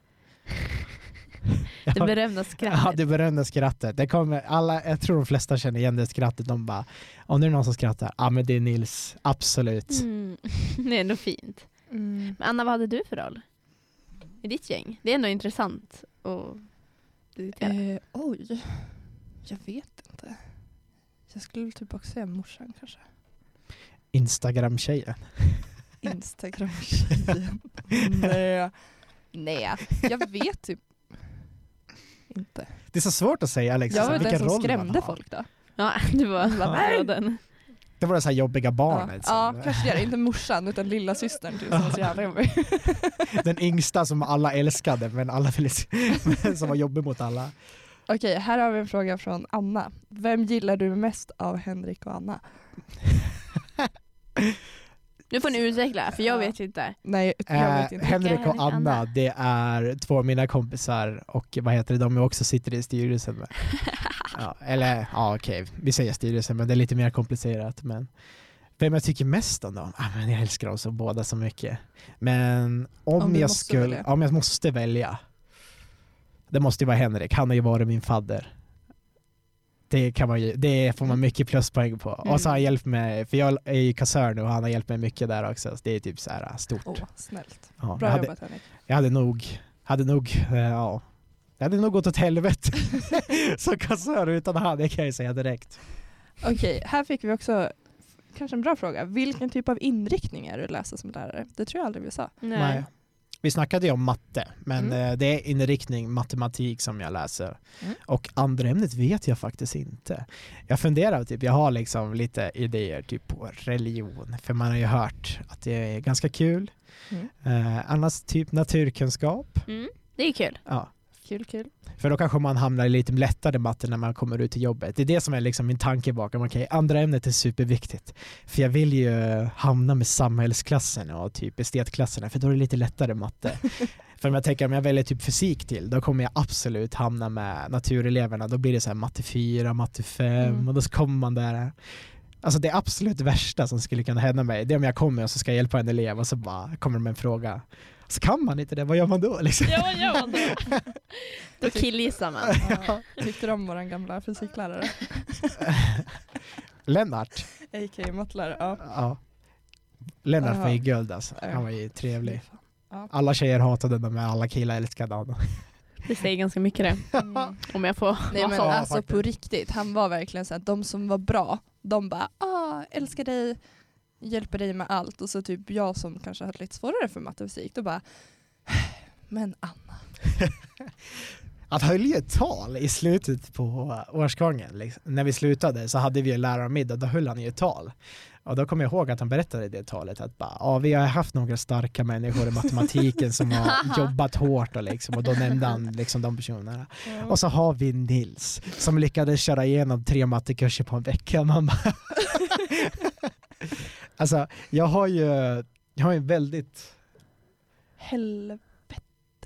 [SPEAKER 1] *laughs*
[SPEAKER 2] Det berömda skrattet.
[SPEAKER 3] Ja, det berömda skrattet. Det kommer, alla, jag tror de flesta känner igen det skrattet. De bara, om det är någon som skrattar, ja men det är Nils, absolut.
[SPEAKER 2] Mm. *laughs* det är ändå fint.
[SPEAKER 1] Mm.
[SPEAKER 2] Men Anna, vad hade du för roll? I ditt gäng? Det är ändå intressant att diskutera.
[SPEAKER 1] Eh, oj, jag vet inte. Jag skulle väl typ också säga morsan *laughs* kanske.
[SPEAKER 3] Instagram-tjejen.
[SPEAKER 1] *laughs* Instagram-tjejen. Nej. Nej, jag vet typ inte.
[SPEAKER 3] Det är så svårt att säga liksom,
[SPEAKER 1] Jag var
[SPEAKER 3] vilken
[SPEAKER 1] den som
[SPEAKER 3] roll man
[SPEAKER 1] skrämde
[SPEAKER 3] har.
[SPEAKER 1] folk då.
[SPEAKER 2] Ja, du var
[SPEAKER 1] Vad
[SPEAKER 2] var den.
[SPEAKER 3] Det var det så här jobbiga
[SPEAKER 1] Ja,
[SPEAKER 3] barnet.
[SPEAKER 1] ja,
[SPEAKER 3] som-
[SPEAKER 1] kanske det. Inte morsan utan lilla systern typ, som var så jävla
[SPEAKER 3] *laughs*
[SPEAKER 1] jobbig.
[SPEAKER 3] Den yngsta som alla älskade men alla ville, men *laughs* som var jobbig mot alla.
[SPEAKER 1] Okej, här har vi en fråga från Anna. Vem gillar du mest av Henrik och Anna?
[SPEAKER 2] Nu får ni utveckla, för jag
[SPEAKER 1] Ja.
[SPEAKER 2] vet ju inte.
[SPEAKER 1] Nej, jag vet
[SPEAKER 3] Eh,
[SPEAKER 1] inte.
[SPEAKER 3] Henrik och
[SPEAKER 2] Vilka är
[SPEAKER 3] Anna,
[SPEAKER 2] Henrik och Anna?
[SPEAKER 3] det är två av mina kompisar och vad heter det, de jag också sitter i styrelsen med.
[SPEAKER 1] Ah.
[SPEAKER 3] Ja, eller ja okej, vi säger styrelsen men det är lite mer komplicerat. Men vem jag tycker mest om dem? Ah, men jag älskar dem så båda så mycket. Men om,
[SPEAKER 1] Om du
[SPEAKER 3] jag
[SPEAKER 1] måste
[SPEAKER 3] skulle,
[SPEAKER 1] välja.
[SPEAKER 3] om jag måste välja. Det måste ju vara Henrik, han har ju varit min fadder. Det, kan man ju, det får
[SPEAKER 1] Mm.
[SPEAKER 3] man mycket pluspoäng på. Och så har han hjälpt mig, för jag är ju kassör nu och han har hjälpt mig mycket där också. Så det är typ så här stort.
[SPEAKER 1] Åh, snällt.
[SPEAKER 3] Ja,
[SPEAKER 1] Bra
[SPEAKER 3] jag hade-
[SPEAKER 1] jobbat Henrik.
[SPEAKER 3] jag hade nog, hade nog, eh, ja. Jag hade nog gått åt helvete *laughs* som kassör utan han, det kan jag ju säga direkt.
[SPEAKER 1] Okej, här fick vi också kanske en bra fråga. Vilken typ av inriktning är du att läsa som lärare? Det tror jag aldrig vi sa.
[SPEAKER 3] Nej. Vi snackade ju om matte, men
[SPEAKER 1] Mm.
[SPEAKER 3] eh, det är inriktning matematik som jag läser.
[SPEAKER 1] Mm.
[SPEAKER 3] Och andra ämnet vet jag faktiskt inte. Jag funderar, typ, jag har liksom lite idéer typ på religion, för man har ju hört att det är ganska kul.
[SPEAKER 1] Mm.
[SPEAKER 3] Eh, annars typ naturkunskap.
[SPEAKER 2] Mm. Det är kul.
[SPEAKER 3] Ja.
[SPEAKER 1] Kul, kul.
[SPEAKER 3] För då kanske man hamnar i lite lättare matte när man kommer ut till jobbet. Det är det som är liksom min tanke bakom. Okej, andra ämnet är superviktigt. För jag vill ju hamna med samhällsklasserna och typ estetklasserna för då är det lite lättare matte. för om jag tänker om jag väljer typ fysik till då kommer jag absolut hamna med natureleverna. Då blir det så här matte 4, matte 5
[SPEAKER 1] Mm.
[SPEAKER 3] och då så kommer man där. Alltså det absolut värsta som skulle kunna hända mig det är om jag kommer och så ska jag hjälpa en elev och så bara kommer de med en fråga. Så kan man inte det, vad gör man då? Liksom?
[SPEAKER 2] Ja, ja, då. då killgissar man.
[SPEAKER 1] Ja. Tyckte du om vår gamla fysiklärare?
[SPEAKER 3] Lennart,
[SPEAKER 1] A.k.a. mattelärare. Ja.
[SPEAKER 3] Ja. Lennart var ju
[SPEAKER 1] Ja.
[SPEAKER 3] guld alltså.
[SPEAKER 1] Ja.
[SPEAKER 3] Han var ju trevlig.
[SPEAKER 1] Fy
[SPEAKER 3] Alla tjejer hatade honom men alla killar älskade honom.
[SPEAKER 2] Det säger ganska mycket det,
[SPEAKER 3] *laughs*
[SPEAKER 1] fan. Mm.
[SPEAKER 2] om jag får
[SPEAKER 1] Nej men
[SPEAKER 3] Ja,
[SPEAKER 1] alltså
[SPEAKER 3] faktiskt.
[SPEAKER 1] på riktigt, han var verkligen så att de som var bra, de bara ah, älskar dig, hjälper dig med allt. Och så typ jag som kanske hade lite svårare för matte och fysik, då bara men Anna.
[SPEAKER 3] Han höll ju ett tal i slutet på årsgången. Liksom. När vi slutade så hade vi ju lärarmiddag, då höll han ju ett tal. Och då kommer jag ihåg att han berättade i det talet att bara, ja, vi har haft några starka människor i matematiken
[SPEAKER 1] *laughs*
[SPEAKER 3] som har jobbat hårt och, liksom, och då nämnde han liksom de personerna.
[SPEAKER 1] Ja.
[SPEAKER 3] Och så har vi Nils som lyckades köra igenom tre mattekurser på en vecka. Man bara *laughs* alltså, jag har ju jag har ju en väldigt,
[SPEAKER 1] Helvete.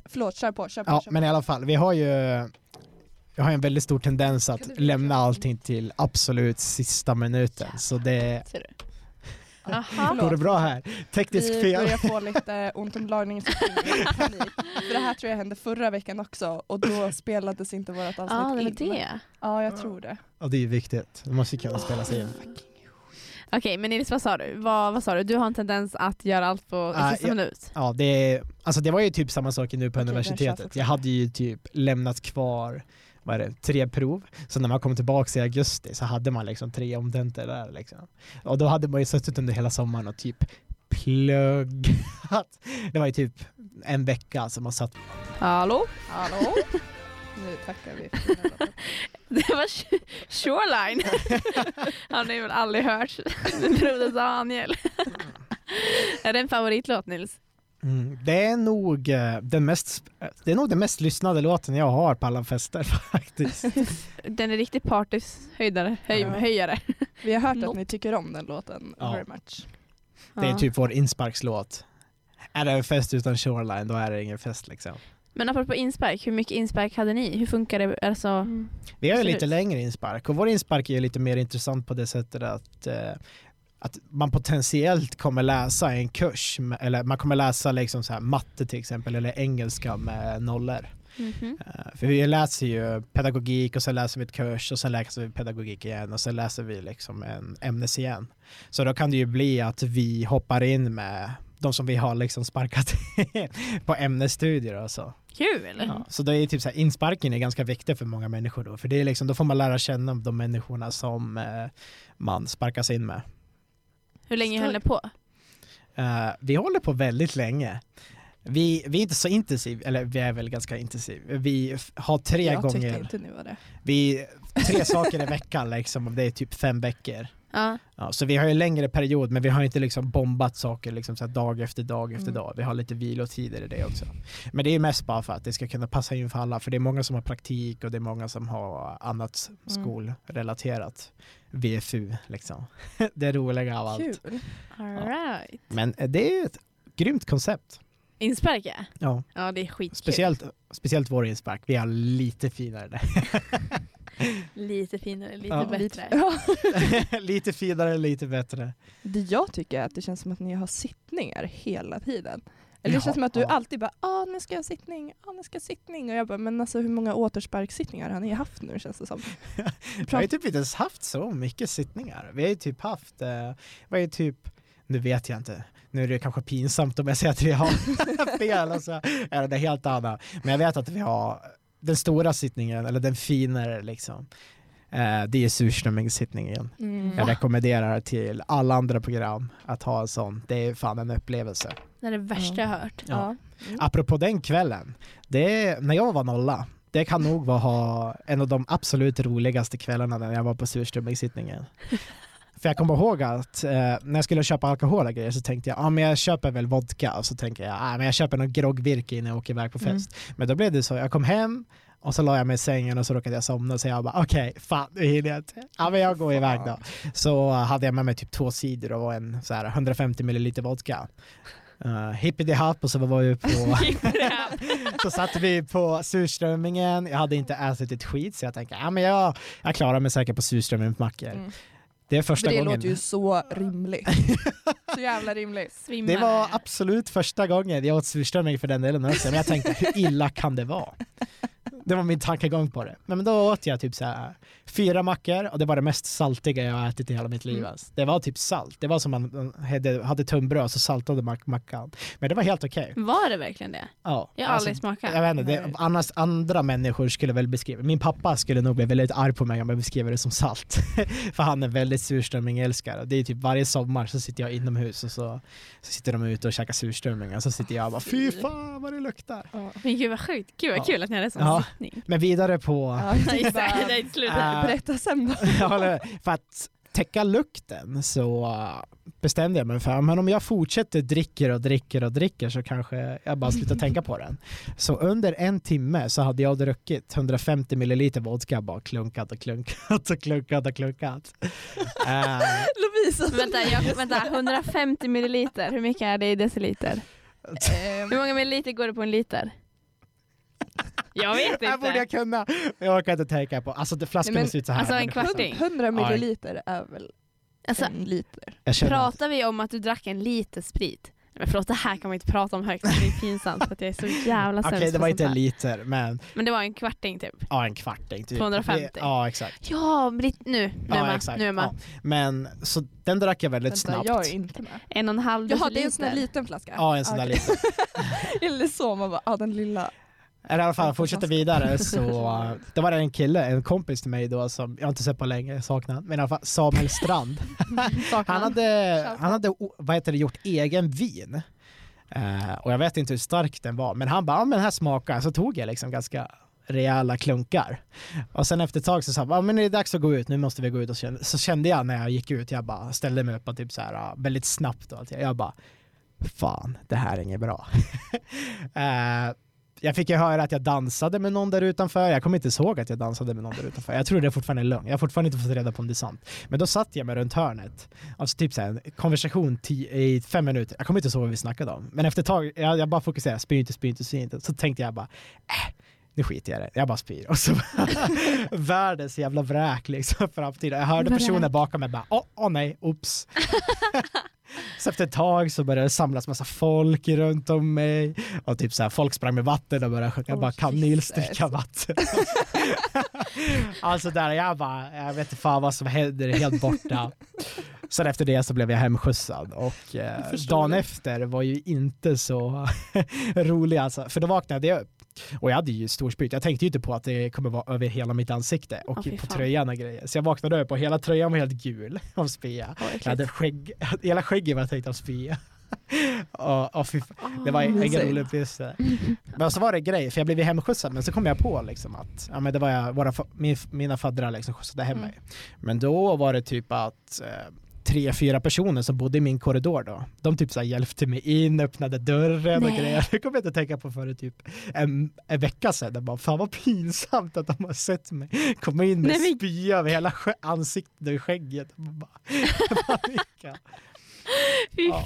[SPEAKER 1] Förlåt, kör på. Kör på,
[SPEAKER 3] ja
[SPEAKER 1] kör på.
[SPEAKER 3] men i alla fall, vi har ju jag har ju en väldigt stor tendens
[SPEAKER 1] Kan du
[SPEAKER 3] att
[SPEAKER 1] bli
[SPEAKER 3] lämna
[SPEAKER 1] klar?
[SPEAKER 3] allting till absolut sista minuten. Så det
[SPEAKER 2] Ser du?
[SPEAKER 1] Ja.
[SPEAKER 2] Aha.
[SPEAKER 1] Förlåt.
[SPEAKER 3] går det bra här. Teknisk
[SPEAKER 1] Vi
[SPEAKER 3] fel.
[SPEAKER 1] börjar
[SPEAKER 3] *laughs*
[SPEAKER 1] få lite ont om lagningen för panik. För det här tror jag hände förra veckan också och då spelades inte vårt avsnitt
[SPEAKER 2] Ja, Ah, det var
[SPEAKER 1] in.
[SPEAKER 2] det.
[SPEAKER 1] Ja,
[SPEAKER 3] Ah.
[SPEAKER 1] jag tror det.
[SPEAKER 3] Ja det är ju viktigt, det måste ju kunna spelas in.
[SPEAKER 2] Okej, men Nils vad sa du? Vad, vad sa du? Du har en tendens att göra allt på
[SPEAKER 3] Ah,
[SPEAKER 2] i sista
[SPEAKER 3] jag-
[SPEAKER 2] minut.
[SPEAKER 3] Ja, det, alltså det var ju typ samma sak
[SPEAKER 1] Okej,
[SPEAKER 3] nu på
[SPEAKER 1] den kör
[SPEAKER 3] universitetet.
[SPEAKER 1] fortfarande.
[SPEAKER 3] Jag hade ju typ lämnat kvar vad är det, tre prov, så när man kom tillbaka i augusti så hade man liksom tre omtentor där. Liksom. Och då hade man ju suttit under hela sommaren och typ pluggat. Det var ju typ en vecka som man satt.
[SPEAKER 2] Hallå?
[SPEAKER 1] Hallå? Nu tackar vi för den här rapporten.
[SPEAKER 2] *laughs* Det var sh-
[SPEAKER 3] *laughs*
[SPEAKER 2] Shoreline. Han har ju väl aldrig hört *laughs* Broder
[SPEAKER 3] *laughs*
[SPEAKER 2] Daniel. Är det en favoritlåt Nils?
[SPEAKER 3] Mm. Det, är nog, eh, den mest, det är nog den mest lyssnade låten jag har på alla fester *laughs* faktiskt.
[SPEAKER 2] Den är riktigt partyshöjdare. Höj,
[SPEAKER 1] Ja.
[SPEAKER 2] höjare.
[SPEAKER 1] Vi har hört
[SPEAKER 2] Något.
[SPEAKER 1] att ni tycker om den låten
[SPEAKER 3] Ja.
[SPEAKER 1] very much.
[SPEAKER 3] Det är
[SPEAKER 2] Ja.
[SPEAKER 3] typ vår insparkslåt. Är det en fest utan shoreline då är det ingen fest liksom.
[SPEAKER 2] Men apropå inspark, hur mycket inspark hade ni? Hur funkar det? Alltså,
[SPEAKER 3] Vi har ju
[SPEAKER 2] Absolut.
[SPEAKER 3] lite längre inspark och vår inspark är ju lite mer intressant på det sättet att, eh, att man potentiellt kommer läsa en kurs med- eller man kommer läsa liksom så här matte till exempel eller engelska med nollor.
[SPEAKER 2] Mhm.
[SPEAKER 3] Eh, För vi läser ju pedagogik och sen läser vi ett kurs och sen läser vi pedagogik igen och sen läser vi liksom en ämnes igen. Så då kan det ju bli att vi hoppar in med de som vi har liksom sparkat *laughs* på ämnesstudier och så.
[SPEAKER 2] Kul!
[SPEAKER 3] Ja, så det är typ så här, insparken är ganska viktig för många människor då, för det är liksom, då får man lära känna de människorna som eh, man sparkas in med.
[SPEAKER 2] Hur länge höll ni på?
[SPEAKER 3] Eh, vi håller på väldigt länge. Vi, vi är inte så intensiv, eller vi är väl ganska intensiv. Vi f- har tre
[SPEAKER 1] jag tyckte
[SPEAKER 3] gånger,
[SPEAKER 1] inte ni var det.
[SPEAKER 3] vi, tre saker i veckan liksom, om det är typ fem veckor.
[SPEAKER 2] Ja.
[SPEAKER 3] Ja, så vi har ju längre period, men vi har inte liksom bombat saker liksom så här dag efter dag efter
[SPEAKER 1] Mm.
[SPEAKER 3] dag. Vi har lite vilotider i det också. Men det är mest bara för att det ska kunna passa in för alla, för det är många som har praktik och det är många som har annat
[SPEAKER 1] Mm.
[SPEAKER 3] skolrelaterat. VFU liksom. *laughs* Det är roliga av allt.
[SPEAKER 1] Kul.
[SPEAKER 2] All right.
[SPEAKER 3] Men eh, det är ju ett grymt koncept.
[SPEAKER 2] Inspark ja.
[SPEAKER 3] Ja,
[SPEAKER 2] Ja det är skitkul.
[SPEAKER 3] speciellt, speciellt vår inspark. Vi har lite finare där. *laughs*
[SPEAKER 2] Lite finare, lite
[SPEAKER 3] Ja.
[SPEAKER 2] bättre.
[SPEAKER 1] *laughs* Ja.
[SPEAKER 3] lite finare, lite bättre.
[SPEAKER 1] Det jag tycker är att det känns som att ni har sittningar hela tiden. Eller det
[SPEAKER 3] Jaha,
[SPEAKER 1] känns som att du
[SPEAKER 3] ja.
[SPEAKER 1] alltid bara ah nu ska jag ha sittning, ah nu ska jag ha sittning. Och jag bara men alltså hur många återsparksittningar har ni haft nu känns det som?
[SPEAKER 3] Vi har ju typ inte ens haft så mycket sittningar. Vi har ju typ haft, eh, vad är typ, nu vet jag inte, nu är det kanske pinsamt om jag säger att vi har *laughs* fel och så är det helt annat. Men jag vet att vi har den stora sittningen, eller den finare liksom, eh, det är surströmmingssittningen. Jag
[SPEAKER 2] Va?
[SPEAKER 3] rekommenderar till alla andra program att ha en sån. Det är fan en upplevelse.
[SPEAKER 2] Det är det värsta jag hört.
[SPEAKER 1] Ja.
[SPEAKER 3] Apropå den kvällen, det är, när jag var nolla, det kan nog vara ha en av de absolut roligaste kvällarna när jag var på surströmmingssittningen. För jag kommer ihåg att eh, när jag skulle köpa alkohol och grejer så tänkte jag, ja ah, men jag köper väl vodka och så tänker jag, ah, men jag köper någon groggvirke innan jag åker iväg på fest. Men då blev det så, jag kom hem och så la jag mig i sängen och så råkade jag somna så jag bara okej, fan nu hinner jag inte. Ja men jag går iväg då. Så hade jag med mig typ två sidor och en så här 150 milliliter vodka. Uh, hippity happ och så var
[SPEAKER 2] *laughs*
[SPEAKER 3] vi på så satt vi på surströmmingen, jag hade inte ätit ett skit så jag tänkte ja, men jag, jag klarar mig säkert på surströmmingsmackor.
[SPEAKER 1] Mm.
[SPEAKER 3] Det är
[SPEAKER 1] För
[SPEAKER 3] första
[SPEAKER 1] det
[SPEAKER 3] gången.
[SPEAKER 1] låter ju så rimligt. så jävla
[SPEAKER 2] *laughs*
[SPEAKER 1] rimligt.
[SPEAKER 2] Svimmar.
[SPEAKER 3] Det var absolut första gången jag åt surströmming för den delen också, men jag tänkte hur illa kan det vara? Det var min tankegång på det. Men då åt jag typ så här, fyra mackor och det var det mest saltiga jag har ätit i hela mitt liv.
[SPEAKER 1] Mm.
[SPEAKER 3] alltså. Det var typ salt, det var som man hade, hade tunnbröd så saltade man mackan. Men det var helt okej.
[SPEAKER 1] Mm.
[SPEAKER 2] Var det verkligen det?
[SPEAKER 3] Ja.
[SPEAKER 2] Jag har
[SPEAKER 3] Alltså,
[SPEAKER 2] aldrig smakat.
[SPEAKER 3] Jag vet inte, det,
[SPEAKER 1] Nej.
[SPEAKER 3] annars andra människor skulle väl beskriva, min pappa skulle nog bli väldigt arg på mig om jag beskriver det som salt. *laughs* För han är väldigt surströmmingälskare. Det är typ varje sommar så sitter jag inomhus och så, så sitter de ute och käkar surströmming och så sitter jag och bara fy fan vad det luktar.
[SPEAKER 2] Men gud vad sjukt. Gud vad
[SPEAKER 3] Ja.
[SPEAKER 2] kul att ni hade sån
[SPEAKER 3] Ja.
[SPEAKER 2] sittning. *laughs*
[SPEAKER 3] Men vidare på,
[SPEAKER 1] Ja, jag
[SPEAKER 2] Nej,
[SPEAKER 1] tänkte
[SPEAKER 2] just det.
[SPEAKER 1] bara,
[SPEAKER 2] Nej, sluta.
[SPEAKER 3] Äh, *laughs*
[SPEAKER 1] berätta sen då.
[SPEAKER 3] jag håller, för att täcka lukten så bestämde jag mig för men om jag fortsätter dricker och dricker och dricker så kanske jag bara slutar tänka på den. Så under en timme så hade jag druckit 150 milliliter vodka bara klunkat och klunkat och klunkat och klunkat.
[SPEAKER 1] uh,
[SPEAKER 3] Äh.
[SPEAKER 1] Lovisa!
[SPEAKER 2] Vänta, jag, vänta, 150 milliliter, hur mycket är det i deciliter?
[SPEAKER 1] Ehm,
[SPEAKER 2] hur många milliliter går det på en liter? Jag vet inte.
[SPEAKER 3] *laughs* Det borde jag kunna. Jag orkar inte tänka på. Alltså det, flaskan Nej, men, ser ut så här.
[SPEAKER 2] Alltså en kvarting.
[SPEAKER 1] 100 milliliter är väl alltså, en liter?
[SPEAKER 2] Pratar vi om att du drack en liter sprit? Men förlåt, det här kan man inte prata om högt, det är pinsamt för att jag är så
[SPEAKER 3] *laughs*
[SPEAKER 2] jävla
[SPEAKER 3] sämst
[SPEAKER 2] Okej,
[SPEAKER 3] det var inte en liter, men...
[SPEAKER 2] Men det var en kvarting typ?
[SPEAKER 3] Ja, en kvarting. Typ.
[SPEAKER 2] 250?
[SPEAKER 3] Det, ja, exakt.
[SPEAKER 2] Ja, Britt, nu, nu ja, man, exakt. Nu är man.
[SPEAKER 3] Ja. Men, så den drack jag väldigt Vänta, snabbt.
[SPEAKER 1] jag är inte med.
[SPEAKER 2] En och en halv
[SPEAKER 1] Jaha, det är en sån där liten flaska?
[SPEAKER 3] Ja, en sån där okay. liten.
[SPEAKER 1] *laughs* Eller så, man bara, ja den lilla.
[SPEAKER 3] Eller i alla fall fortsätter
[SPEAKER 1] *laughs*
[SPEAKER 3] vidare så, det var en kille, en kompis till mig då som jag inte sett på länge, saknar men i alla fall Samuel Strand. han hade, han hade vad heter det, gjort egen vin. Uh, och jag vet inte hur stark den var, men han bara, ja ah, men den här smakar, så tog jag liksom ganska rejäla klunkar. Och sen efter ett tag så sa han, ah, men det är dags att gå ut, nu måste vi gå ut. Och så kände jag när jag gick ut, jag bara ställde mig upp och typ så här väldigt snabbt då, jag bara, fan, det här är inget bra. *laughs* uh, jag fick ju höra att jag dansade med någon där utanför. Jag kommer inte ihåg att jag dansade med någon där utanför. Jag tror det är fortfarande är lögn. Jag har fortfarande inte fått reda på om det är sant. Men då satt jag mig runt hörnet. Alltså typ såhär, en konversation i fem minuter. Jag kommer inte ihåg vad vi snackade om. Men efter ett tag, jag, jag bara fokuserade. Spy inte, spy inte, spy inte. Så tänkte jag bara, äh, nu skiter jag i det. Jag bara *laughs* spyr. Och så världens jävla vräk liksom framtiden. Jag hörde personer bakom mig bara, åh, oh, åh oh, nej, oops. Så efter ett tag så började det samlas massa folk runt om mig och typ så här, folk sprang med vatten och började sjunga oh, bara kan Nils dricka vatten? *laughs* alltså där jag bara, jag vet inte fan vad som händer, helt borta. Sen efter det så blev jag hemskjutsad och eh, dagen det. efter var ju inte så *laughs* rolig alltså, för då vaknade jag upp och jag hade ju storspyt. Jag tänkte ju inte på att det kommer vara över hela mitt ansikte och oh, på tröjan och grejer. Så jag vaknade upp och hela tröjan var helt gul av spya. Oh, jag hade skägg, *laughs* hela skägget var täckt av *laughs* spya. och, och det var
[SPEAKER 2] Ah.
[SPEAKER 3] en oh, rolig uppgift. *laughs* Men så var det grej, för jag blev hemskjutsad men så kom jag på liksom att ja, men det var jag, våra, min, mina faddrar liksom skjutsade hem mig. Mm. Men då var det typ att eh, tre, fyra personer som bodde i min korridor då. De typ så här hjälpte mig in, öppnade dörren Nej. och grejer. Det kommer jag inte att tänka på för typ en, en vecka sedan. Jag bara, fan vad pinsamt att de har sett mig komma in med Nej, men... spy över hela ansiktet och skägget. Jag bara, *laughs* bara
[SPEAKER 2] *laughs* Fy ja.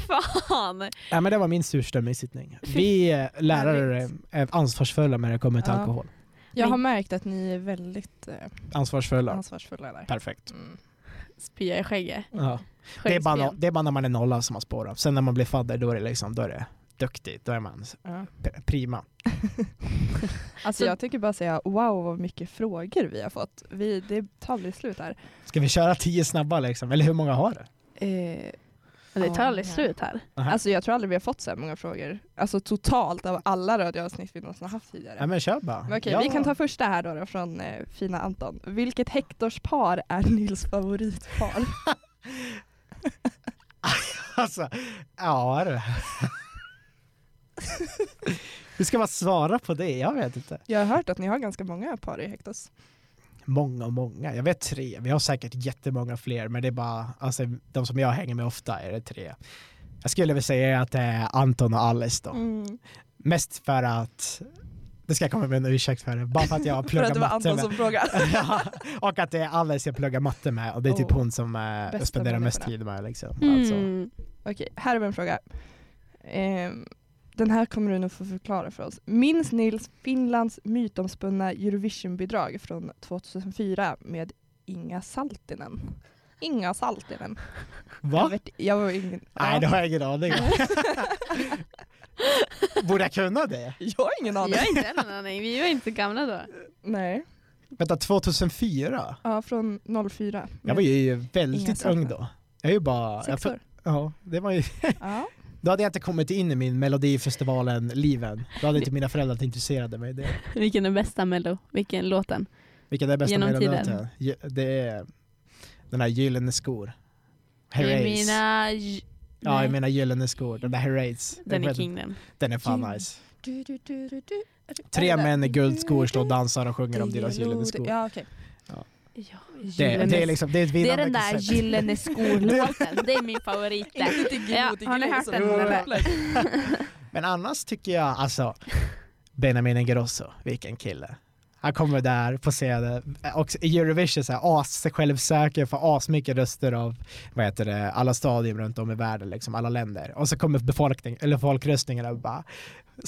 [SPEAKER 2] fan!
[SPEAKER 3] Ja, men det var min surströmmingssittning. Vi eh, lärare är eh, ansvarsfulla när det kommer till ja. alkohol.
[SPEAKER 1] Jag har märkt att ni är väldigt eh,
[SPEAKER 3] ansvarsfulla.
[SPEAKER 1] ansvarsfulla där.
[SPEAKER 3] Perfekt. Mm
[SPEAKER 2] spya i skägget.
[SPEAKER 1] Mm.
[SPEAKER 3] Ja. Det, är bara, det är bara när man är nolla som man spårar. Sen när man blir fadder då är det liksom, då är det duktigt, då är man ja. prima.
[SPEAKER 1] alltså jag tycker bara säga wow vad mycket frågor vi har fått. Vi, det tar aldrig slut här.
[SPEAKER 3] Ska vi köra tio snabba liksom? Eller hur många har du?
[SPEAKER 2] Eh, det tar aldrig ja. slut här.
[SPEAKER 1] Aha. Alltså jag tror aldrig vi har fått så här många frågor. Alltså totalt av alla radioavsnitt vi någonsin har haft tidigare.
[SPEAKER 3] Ja men kör bara.
[SPEAKER 1] Men okej,
[SPEAKER 3] ja.
[SPEAKER 1] vi kan ta första här då, då från eh, fina Anton. Vilket Hectorspar är Nils favoritpar?
[SPEAKER 3] *laughs* alltså,
[SPEAKER 1] *laughs*
[SPEAKER 3] ja du. Hur ska man svara på det? Jag vet inte.
[SPEAKER 1] *laughs* Jag har hört att ni har ganska många par i Hectors
[SPEAKER 3] många, många. Jag vet tre. Vi har säkert jättemånga fler, men det är bara alltså, de som jag hänger med ofta är det tre. Jag skulle väl säga att det är Anton och Alice då. Mm. Mest för att det ska jag komma med en ursäkt för det. Bara för
[SPEAKER 1] *laughs*
[SPEAKER 3] att jag pluggar matte med.
[SPEAKER 1] för att det var Anton som *laughs* frågade.
[SPEAKER 3] *laughs* ja, och att det är Alice jag pluggar matte med och det är typ oh, hon som eh, spenderar mest tid med. Liksom. Mm. Alltså.
[SPEAKER 2] *laughs*
[SPEAKER 1] Okej, okay, här är en fråga. Um, den här kommer du nog få förklara för oss. Minns Nils Finlands mytomspunna Eurovision-bidrag från 2004 med Inga Saltinen? Inga Saltinen.
[SPEAKER 3] Va?
[SPEAKER 1] Jag, vet, jag var ingen,
[SPEAKER 3] Nej, ja. det har jag ingen aning om.
[SPEAKER 1] *laughs*
[SPEAKER 3] Borde jag kunna det?
[SPEAKER 1] Jag har ingen aning.
[SPEAKER 2] Jag har inte en aning. Vi var inte gamla då.
[SPEAKER 1] Nej.
[SPEAKER 3] Vänta, 2004?
[SPEAKER 1] Ja, från 04.
[SPEAKER 3] Jag var ju väldigt ung då. Jag är ju bara...
[SPEAKER 1] Mm. Sex år.
[SPEAKER 3] Ja, det var ju...
[SPEAKER 1] ja.
[SPEAKER 3] Då hade jag inte kommit in i min Melodifestivalen-liven. Då hade inte mina föräldrar varit intresserade mig. Det.
[SPEAKER 2] Vilken är bästa Mello? Vilken låten?
[SPEAKER 3] Vilken är bästa Genom Melodilåten? Det är den här Gyllene skor.
[SPEAKER 2] Herreys. Mina... J
[SPEAKER 3] ja, Nej. jag menar Gyllene skor. Den där Herreys.
[SPEAKER 2] Den är king den.
[SPEAKER 3] Den är fan nice. Du, du, du, Tre män i guldskor står och dansar och sjunger om deras gyllene skor.
[SPEAKER 1] Ja, okay.
[SPEAKER 3] Ja.
[SPEAKER 2] Ja,
[SPEAKER 3] Det,
[SPEAKER 2] gyllene-
[SPEAKER 3] det, är liksom, det är ett
[SPEAKER 2] det är
[SPEAKER 3] vinnande
[SPEAKER 2] den där
[SPEAKER 3] koncept.
[SPEAKER 2] gyllene skolåten. det är min *laughs* favorit. där.
[SPEAKER 1] Inte till Glo,
[SPEAKER 2] Ja,
[SPEAKER 1] till
[SPEAKER 2] har ni
[SPEAKER 1] Glo
[SPEAKER 2] hört
[SPEAKER 1] som
[SPEAKER 2] den,
[SPEAKER 1] är
[SPEAKER 2] eller?
[SPEAKER 1] upplägg.
[SPEAKER 3] Men annars tycker jag alltså Benjamin Ingrosso, vilken kille. Han kommer där på scenen eh, och i Eurovision så här as sig själv söker för asmycket röster av vad heter det, alla stadion runt om i världen, liksom alla länder. Och så kommer befolkning, eller folkröstningarna och bara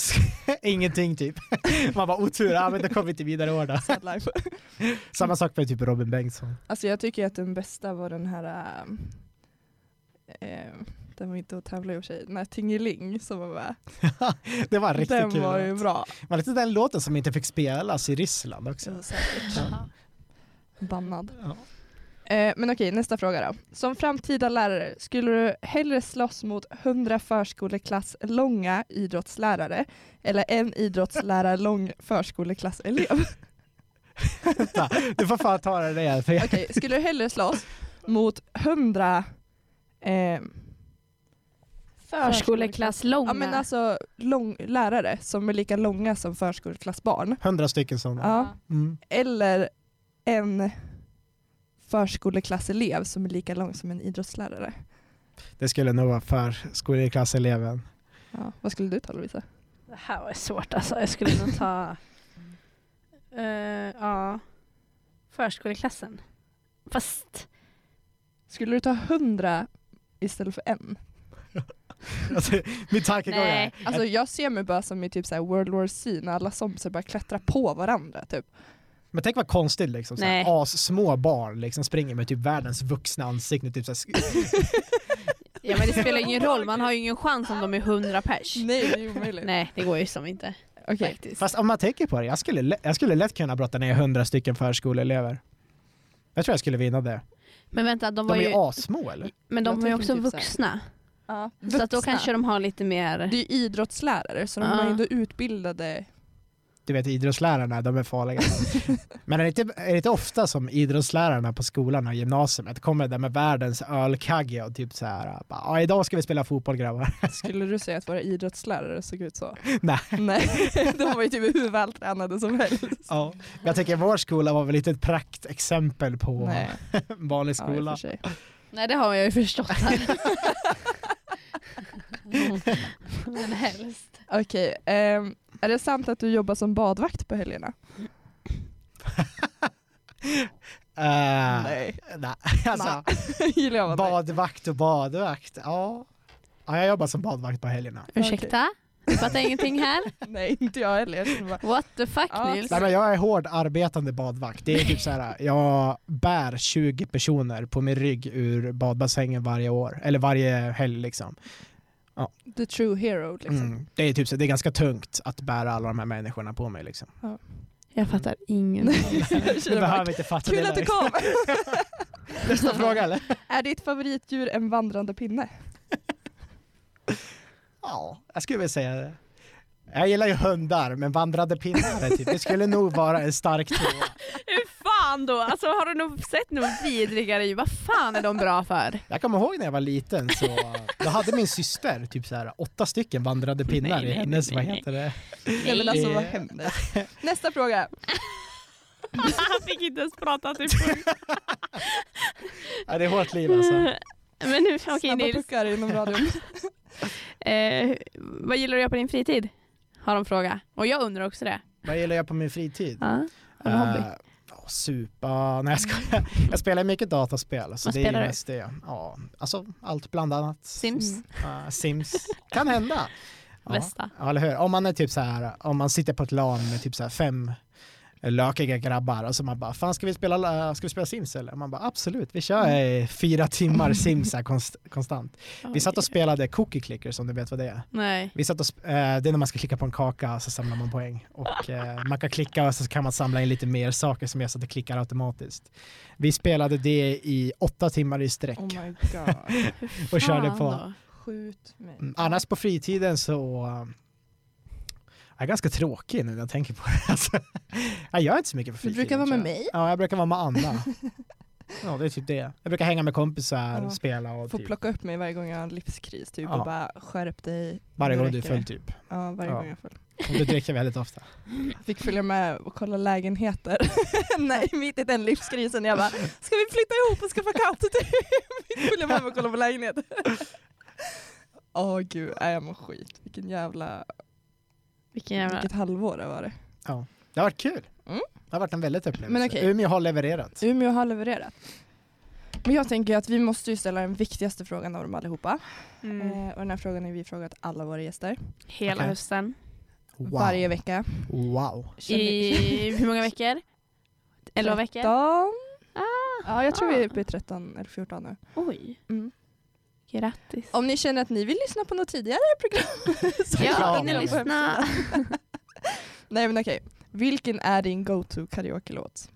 [SPEAKER 3] *laughs* ingenting typ. *laughs* Man bara otur, ja men då kommer vi inte vidare i år då.
[SPEAKER 1] Sad life.
[SPEAKER 3] Samma sak med typ Robin Bengtsson. *laughs*
[SPEAKER 1] Alltså jag tycker att den bästa var den här, äh, äh, den var inte att tävla i och för sig, den här Tingeling som var med.
[SPEAKER 3] det var riktigt
[SPEAKER 1] den
[SPEAKER 3] kul.
[SPEAKER 1] var ju bra.
[SPEAKER 3] Var det inte den låten som inte fick spelas i Ryssland också?
[SPEAKER 1] Så säkert.
[SPEAKER 3] Ja.
[SPEAKER 1] Bannad.
[SPEAKER 3] Ja.
[SPEAKER 1] Eh, men okej, nästa fråga då. Som framtida lärare, skulle du hellre slåss mot 100 förskoleklass långa idrottslärare eller en idrottslärare lång förskoleklasselev?
[SPEAKER 3] *laughs* Vänta, Du får fan ta det där. För
[SPEAKER 1] *laughs*
[SPEAKER 3] jag,
[SPEAKER 1] Okej, skulle du hellre slåss mot 100 eh,
[SPEAKER 2] *laughs* Förskoleklass långa.
[SPEAKER 1] Ja men alltså lång, lärare som är lika långa som förskoleklassbarn.
[SPEAKER 3] hundra stycken sådana.
[SPEAKER 1] Ja.
[SPEAKER 3] Mm.
[SPEAKER 1] Eller en förskoleklasselev som är lika lång som en idrottslärare.
[SPEAKER 3] Det skulle nog vara för skolklasseleven.
[SPEAKER 1] Ja. Vad skulle du ta Lovisa?
[SPEAKER 2] Det här var svårt alltså. Jag skulle nog *laughs* ta... Eh, ja. Förskoleklassen. Fast...
[SPEAKER 1] Skulle du ta 100 istället för en?
[SPEAKER 3] *laughs* Alltså, min tankegång är...
[SPEAKER 2] Nej.
[SPEAKER 1] Alltså jag ser mig bara som i typ så här World War C när alla zombier bara klättrar på varandra typ.
[SPEAKER 3] Men tänk vad konstigt liksom.
[SPEAKER 2] Nej.
[SPEAKER 3] Såhär, små barn liksom springer med typ världens vuxna ansikten. Typ såhär,
[SPEAKER 2] Ja men det *laughs* spelar ingen roll. Man har ju ingen chans om de är 100 pers.
[SPEAKER 1] *laughs* Nej det är omöjligt.
[SPEAKER 2] Nej, det går ju som inte.
[SPEAKER 1] Okej.
[SPEAKER 2] Faktiskt.
[SPEAKER 3] *laughs* fast om man tänker på det, jag skulle, lä- jag skulle lätt kunna brotta ner hundra stycken förskoleelever. Jag tror jag skulle vinna det.
[SPEAKER 2] Men vänta, de
[SPEAKER 3] De
[SPEAKER 2] var
[SPEAKER 3] är ju
[SPEAKER 2] ju...
[SPEAKER 3] assmå eller?
[SPEAKER 1] Jag
[SPEAKER 2] Men de var ju
[SPEAKER 1] tänker
[SPEAKER 2] också
[SPEAKER 1] typ så här.
[SPEAKER 2] vuxna.
[SPEAKER 1] Ja.
[SPEAKER 2] Så att då
[SPEAKER 1] Vuxna.
[SPEAKER 2] kanske de har lite mer...
[SPEAKER 1] Det är ju idrottslärare så de
[SPEAKER 2] Ja.
[SPEAKER 1] är ju ändå
[SPEAKER 2] *laughs*
[SPEAKER 1] utbildade.
[SPEAKER 3] Du vet idrottslärarna, de
[SPEAKER 1] *laughs*
[SPEAKER 3] är farliga. Men är det, inte, är det inte ofta som idrottslärarna på skolan och gymnasiet kommer där med världens ölkagge och typ såhär, bara, "Ja, idag ska vi spela fotboll grabbar. *laughs*
[SPEAKER 1] Skulle du säga att våra idrottslärare såg ut så?
[SPEAKER 3] Nej.
[SPEAKER 1] Nej, *laughs* de var ju typ hur vältränade som helst.
[SPEAKER 3] Ja. Jag tänker vår skola var väl lite ett praktexempel på
[SPEAKER 1] Nej,
[SPEAKER 3] en *laughs* vanlig
[SPEAKER 1] ja, i och för
[SPEAKER 3] skola.
[SPEAKER 1] sig.
[SPEAKER 2] Nej, det har jag ju *laughs* förstått här. men helst.
[SPEAKER 1] Okej, ehm, är det sant att du jobbar som badvakt på helgerna? *laughs*
[SPEAKER 3] Eh,
[SPEAKER 1] Nej.
[SPEAKER 3] nej. *laughs* Alltså,
[SPEAKER 1] Gillar jag vad
[SPEAKER 3] badvakt och badvakt. Ja. ja, jag jobbar som badvakt på helgerna.
[SPEAKER 2] Ursäkta? Du fattar ingenting här?
[SPEAKER 1] *laughs* Nej, inte jag heller. Jag skulle bara,
[SPEAKER 2] What the fuck
[SPEAKER 1] Ja.
[SPEAKER 2] Nils?
[SPEAKER 3] Nej, men jag är hård arbetande badvakt. Det är typ så här, jag bär 20 personer på min rygg ur badbassängen varje år, eller varje helg liksom.
[SPEAKER 1] the true hero liksom.
[SPEAKER 3] Mm. Det är typ så, det är ganska tungt att bära alla de här människorna på
[SPEAKER 1] *laughs*
[SPEAKER 3] mig liksom.
[SPEAKER 2] Jag fattar ingen.
[SPEAKER 1] Jag
[SPEAKER 3] Du
[SPEAKER 1] känner bara,
[SPEAKER 3] behöver inte fatta
[SPEAKER 1] Kul
[SPEAKER 3] det
[SPEAKER 1] att du
[SPEAKER 3] där.
[SPEAKER 1] kom!
[SPEAKER 3] *laughs*
[SPEAKER 1] *laughs*
[SPEAKER 3] Nästa fråga eller?
[SPEAKER 1] är ditt favoritdjur en vandrande pinne?
[SPEAKER 3] Ja, jag skulle vilja säga det. Jag gillar ju hundar, men vandrande pinnar är typ, det skulle nog vara en stark tvåa.
[SPEAKER 2] Hur fan då? Alltså har du nog sett något vidrigare djur? Vad fan är de bra för?
[SPEAKER 3] Jag kommer ihåg när jag var liten så då hade min syster typ så här åtta stycken vandrade pinnar
[SPEAKER 2] Nej,
[SPEAKER 3] i
[SPEAKER 2] nej,
[SPEAKER 3] hennes,
[SPEAKER 2] nej,
[SPEAKER 3] vad
[SPEAKER 2] nej.
[SPEAKER 3] heter det? *laughs*
[SPEAKER 1] Nej men alltså
[SPEAKER 3] Eh.
[SPEAKER 1] vad händer? Nästa fråga.
[SPEAKER 2] Han fick inte ens prata typ. till punkt.
[SPEAKER 3] Ja, det är hårt liv alltså.
[SPEAKER 2] Men nu, okej
[SPEAKER 1] Snabba
[SPEAKER 2] Nils.
[SPEAKER 1] puckar inom
[SPEAKER 3] *laughs*
[SPEAKER 1] radion.
[SPEAKER 2] Eh, vad gillar du att göra på din fritid? Har de frågat. Och jag undrar också det.
[SPEAKER 3] Vad gillar jag på min fritid?
[SPEAKER 2] Ja. Har du hobby?
[SPEAKER 3] Eh, ja, supa, nej jag skojar. Jag spelar mycket dataspel. Så
[SPEAKER 2] Vad
[SPEAKER 3] det är ju
[SPEAKER 2] spelar du?
[SPEAKER 3] mest det. Ja, alltså allt bland annat.
[SPEAKER 2] Sims?
[SPEAKER 1] Mm.
[SPEAKER 3] Eh, Sims. Kan hända. Ja.
[SPEAKER 2] Bästa.
[SPEAKER 3] Ja, eller hur? Om man är typ så här, om man sitter på ett LAN med typ så här fem lökiga grabbar och så man bara, fan ska vi spela, ska vi spela Sims eller? Och man bara absolut, vi kör i fyra timmar Sims här konst, konstant. Vi satt och spelade Cookie Clicker om du vet vad det är.
[SPEAKER 2] Nej.
[SPEAKER 3] Vi satt och, sp- eh, det är när man ska klicka på en kaka och så samlar man poäng. Och eh, man kan klicka och så kan man samla in lite mer saker som gör så att det klickar automatiskt. Vi spelade det i åtta timmar i sträck.
[SPEAKER 1] Oh my god.
[SPEAKER 2] Hur
[SPEAKER 3] Och körde
[SPEAKER 2] fan
[SPEAKER 3] på.
[SPEAKER 2] då?
[SPEAKER 1] Skjut mig.
[SPEAKER 3] Mm, Annars på fritiden så eh, jag är ganska tråkig nu när *laughs* jag tänker på det. Alltså, jag gör inte så mycket på
[SPEAKER 1] Du
[SPEAKER 3] fritiden.
[SPEAKER 1] brukar vara
[SPEAKER 3] tror
[SPEAKER 1] med
[SPEAKER 3] jag.
[SPEAKER 1] mig. *laughs*
[SPEAKER 3] Ja, jag brukar vara med Anna. Ja, det är typ det. Jag brukar hänga med kompisar,
[SPEAKER 1] Ja.
[SPEAKER 3] spela och
[SPEAKER 1] Får
[SPEAKER 3] typ,
[SPEAKER 1] plocka upp mig varje gång jag har en livskris typ
[SPEAKER 3] Ja.
[SPEAKER 1] och bara skärp dig.
[SPEAKER 3] varje
[SPEAKER 1] nu
[SPEAKER 3] gång du är
[SPEAKER 1] räcker det."
[SPEAKER 3] full typ.
[SPEAKER 1] Ja, varje
[SPEAKER 3] Ja.
[SPEAKER 1] gång jag är full.
[SPEAKER 3] Och du dricker väldigt ofta.
[SPEAKER 1] Fick följa med och kolla lägenheter. *laughs* Nej, mitt i den livskrisen. Jag bara, ska vi flytta ihop och skaffa katt? *laughs* Typ. Fick följa med och kolla på lägenheter. *laughs* Åh gud, nej, jag mår skit. Vilken jävla,
[SPEAKER 2] Vilken jävla...
[SPEAKER 1] vilket halvår det var det.
[SPEAKER 3] Det har varit kul.
[SPEAKER 1] Mm.
[SPEAKER 3] Det har varit en väldigt upplevelse.
[SPEAKER 1] Men okej.
[SPEAKER 3] Umeå har levererat.
[SPEAKER 1] Umeå har levererat. Men jag tänker ju att vi måste ju ställa den viktigaste frågan av dem allihopa.
[SPEAKER 2] Mm.
[SPEAKER 1] Eh, och den här frågan har vi frågat alla våra gäster.
[SPEAKER 2] Hela
[SPEAKER 3] Okej.
[SPEAKER 2] hösten.
[SPEAKER 3] Wow. Oh.
[SPEAKER 1] Varje vecka.
[SPEAKER 3] Wow.
[SPEAKER 2] I hur många veckor?
[SPEAKER 1] *laughs*
[SPEAKER 2] Elva veckor?
[SPEAKER 1] 13.
[SPEAKER 2] Ah,
[SPEAKER 1] Ja, jag tror vi är
[SPEAKER 2] Ah.
[SPEAKER 1] uppe i 13 eller 14 nu.
[SPEAKER 2] Oj.
[SPEAKER 1] Mm.
[SPEAKER 2] Grattis.
[SPEAKER 1] Om ni känner att ni vill lyssna på något tidigare program *laughs* så
[SPEAKER 2] Ja,
[SPEAKER 1] kan
[SPEAKER 2] in
[SPEAKER 1] ni
[SPEAKER 2] och
[SPEAKER 1] lyssna på
[SPEAKER 2] lyssna.
[SPEAKER 1] hemsidan.
[SPEAKER 2] *laughs*
[SPEAKER 1] Nej men okej. Vilken är din go-to karaoke-låt?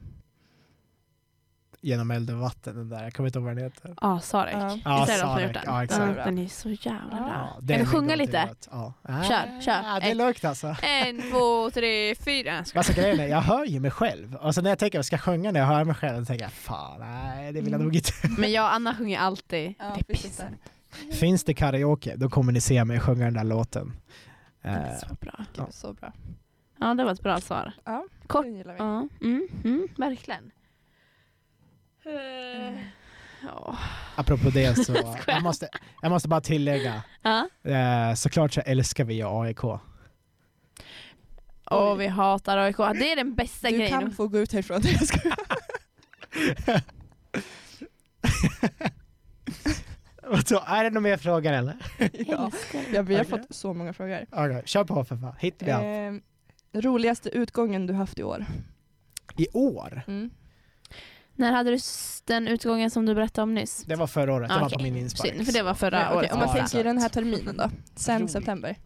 [SPEAKER 3] Genom eld och vatten, den där. Jag kommer inte ihåg vad den heter.
[SPEAKER 2] Ja, Sarek.
[SPEAKER 1] Ja.
[SPEAKER 2] Visst är det de som har gjort den?
[SPEAKER 3] Ja,
[SPEAKER 1] Den
[SPEAKER 3] exakt.
[SPEAKER 1] är bra.
[SPEAKER 2] Den är så jävla
[SPEAKER 1] Ah.
[SPEAKER 2] bra. Kan
[SPEAKER 3] det är
[SPEAKER 2] du
[SPEAKER 3] en
[SPEAKER 2] sjunga
[SPEAKER 3] god
[SPEAKER 2] lite?
[SPEAKER 3] låt. Ja. Ah.
[SPEAKER 2] Kör, kör.
[SPEAKER 3] Ah,
[SPEAKER 1] Eh.
[SPEAKER 3] det är
[SPEAKER 2] Ett.
[SPEAKER 3] lugnt alltså.
[SPEAKER 2] En, två, tre, fyra. Jag skojar.
[SPEAKER 3] Alltså grejen är, jag hör ju mig själv. Och så när jag tänker jag ska sjunga när jag hör mig själv, så tänker jag fan nej det vill jag
[SPEAKER 1] Mm.
[SPEAKER 3] nog inte.
[SPEAKER 2] Men jag och Anna sjunger alltid.
[SPEAKER 1] Ja,
[SPEAKER 2] det är
[SPEAKER 1] precis
[SPEAKER 2] pissen. Mm.
[SPEAKER 3] Finns det karaoke, då kommer ni se mig sjunga den där låten.
[SPEAKER 2] Den är
[SPEAKER 3] Eh,
[SPEAKER 2] så bra.
[SPEAKER 3] Ja.
[SPEAKER 1] Gud, så bra.
[SPEAKER 2] Ja, det var ett bra svar.
[SPEAKER 1] Ja,
[SPEAKER 2] Kort.
[SPEAKER 1] den gillar vi.
[SPEAKER 2] Ja, mm, mm, verkligen. Eh. Ja.
[SPEAKER 3] apropå det så,
[SPEAKER 2] *laughs* Jag skojar.
[SPEAKER 3] jag måste, jag måste bara tillägga,
[SPEAKER 2] Ja.
[SPEAKER 3] eh, såklart så älskar vi ju E AIK.
[SPEAKER 2] Och vi hatar AIK. Det är den bästa
[SPEAKER 1] Du
[SPEAKER 2] grejen.
[SPEAKER 1] kan få gå ut härifrån. *laughs* Jag skojar.
[SPEAKER 3] Och så, är det någon mer frågor eller?
[SPEAKER 1] ja.
[SPEAKER 2] Älskar det.
[SPEAKER 1] ja, vi har
[SPEAKER 3] Okej.
[SPEAKER 1] fått så många frågor.
[SPEAKER 3] Okay, kör på för fan, hit me up.
[SPEAKER 1] Eh, roligaste utgången du haft i år?
[SPEAKER 3] I år,
[SPEAKER 1] Mm.
[SPEAKER 2] När hade du s- den utgången som du berättade om nyss? Ah,
[SPEAKER 3] det var förra året, det var
[SPEAKER 2] Okej.
[SPEAKER 3] på min inspark.
[SPEAKER 2] Synd, för det var förra
[SPEAKER 1] Nej, okej,
[SPEAKER 2] året.
[SPEAKER 1] om man
[SPEAKER 3] Ja,
[SPEAKER 1] tänker
[SPEAKER 3] exakt.
[SPEAKER 1] den här terminen då? Sen
[SPEAKER 3] Roligt.
[SPEAKER 1] september?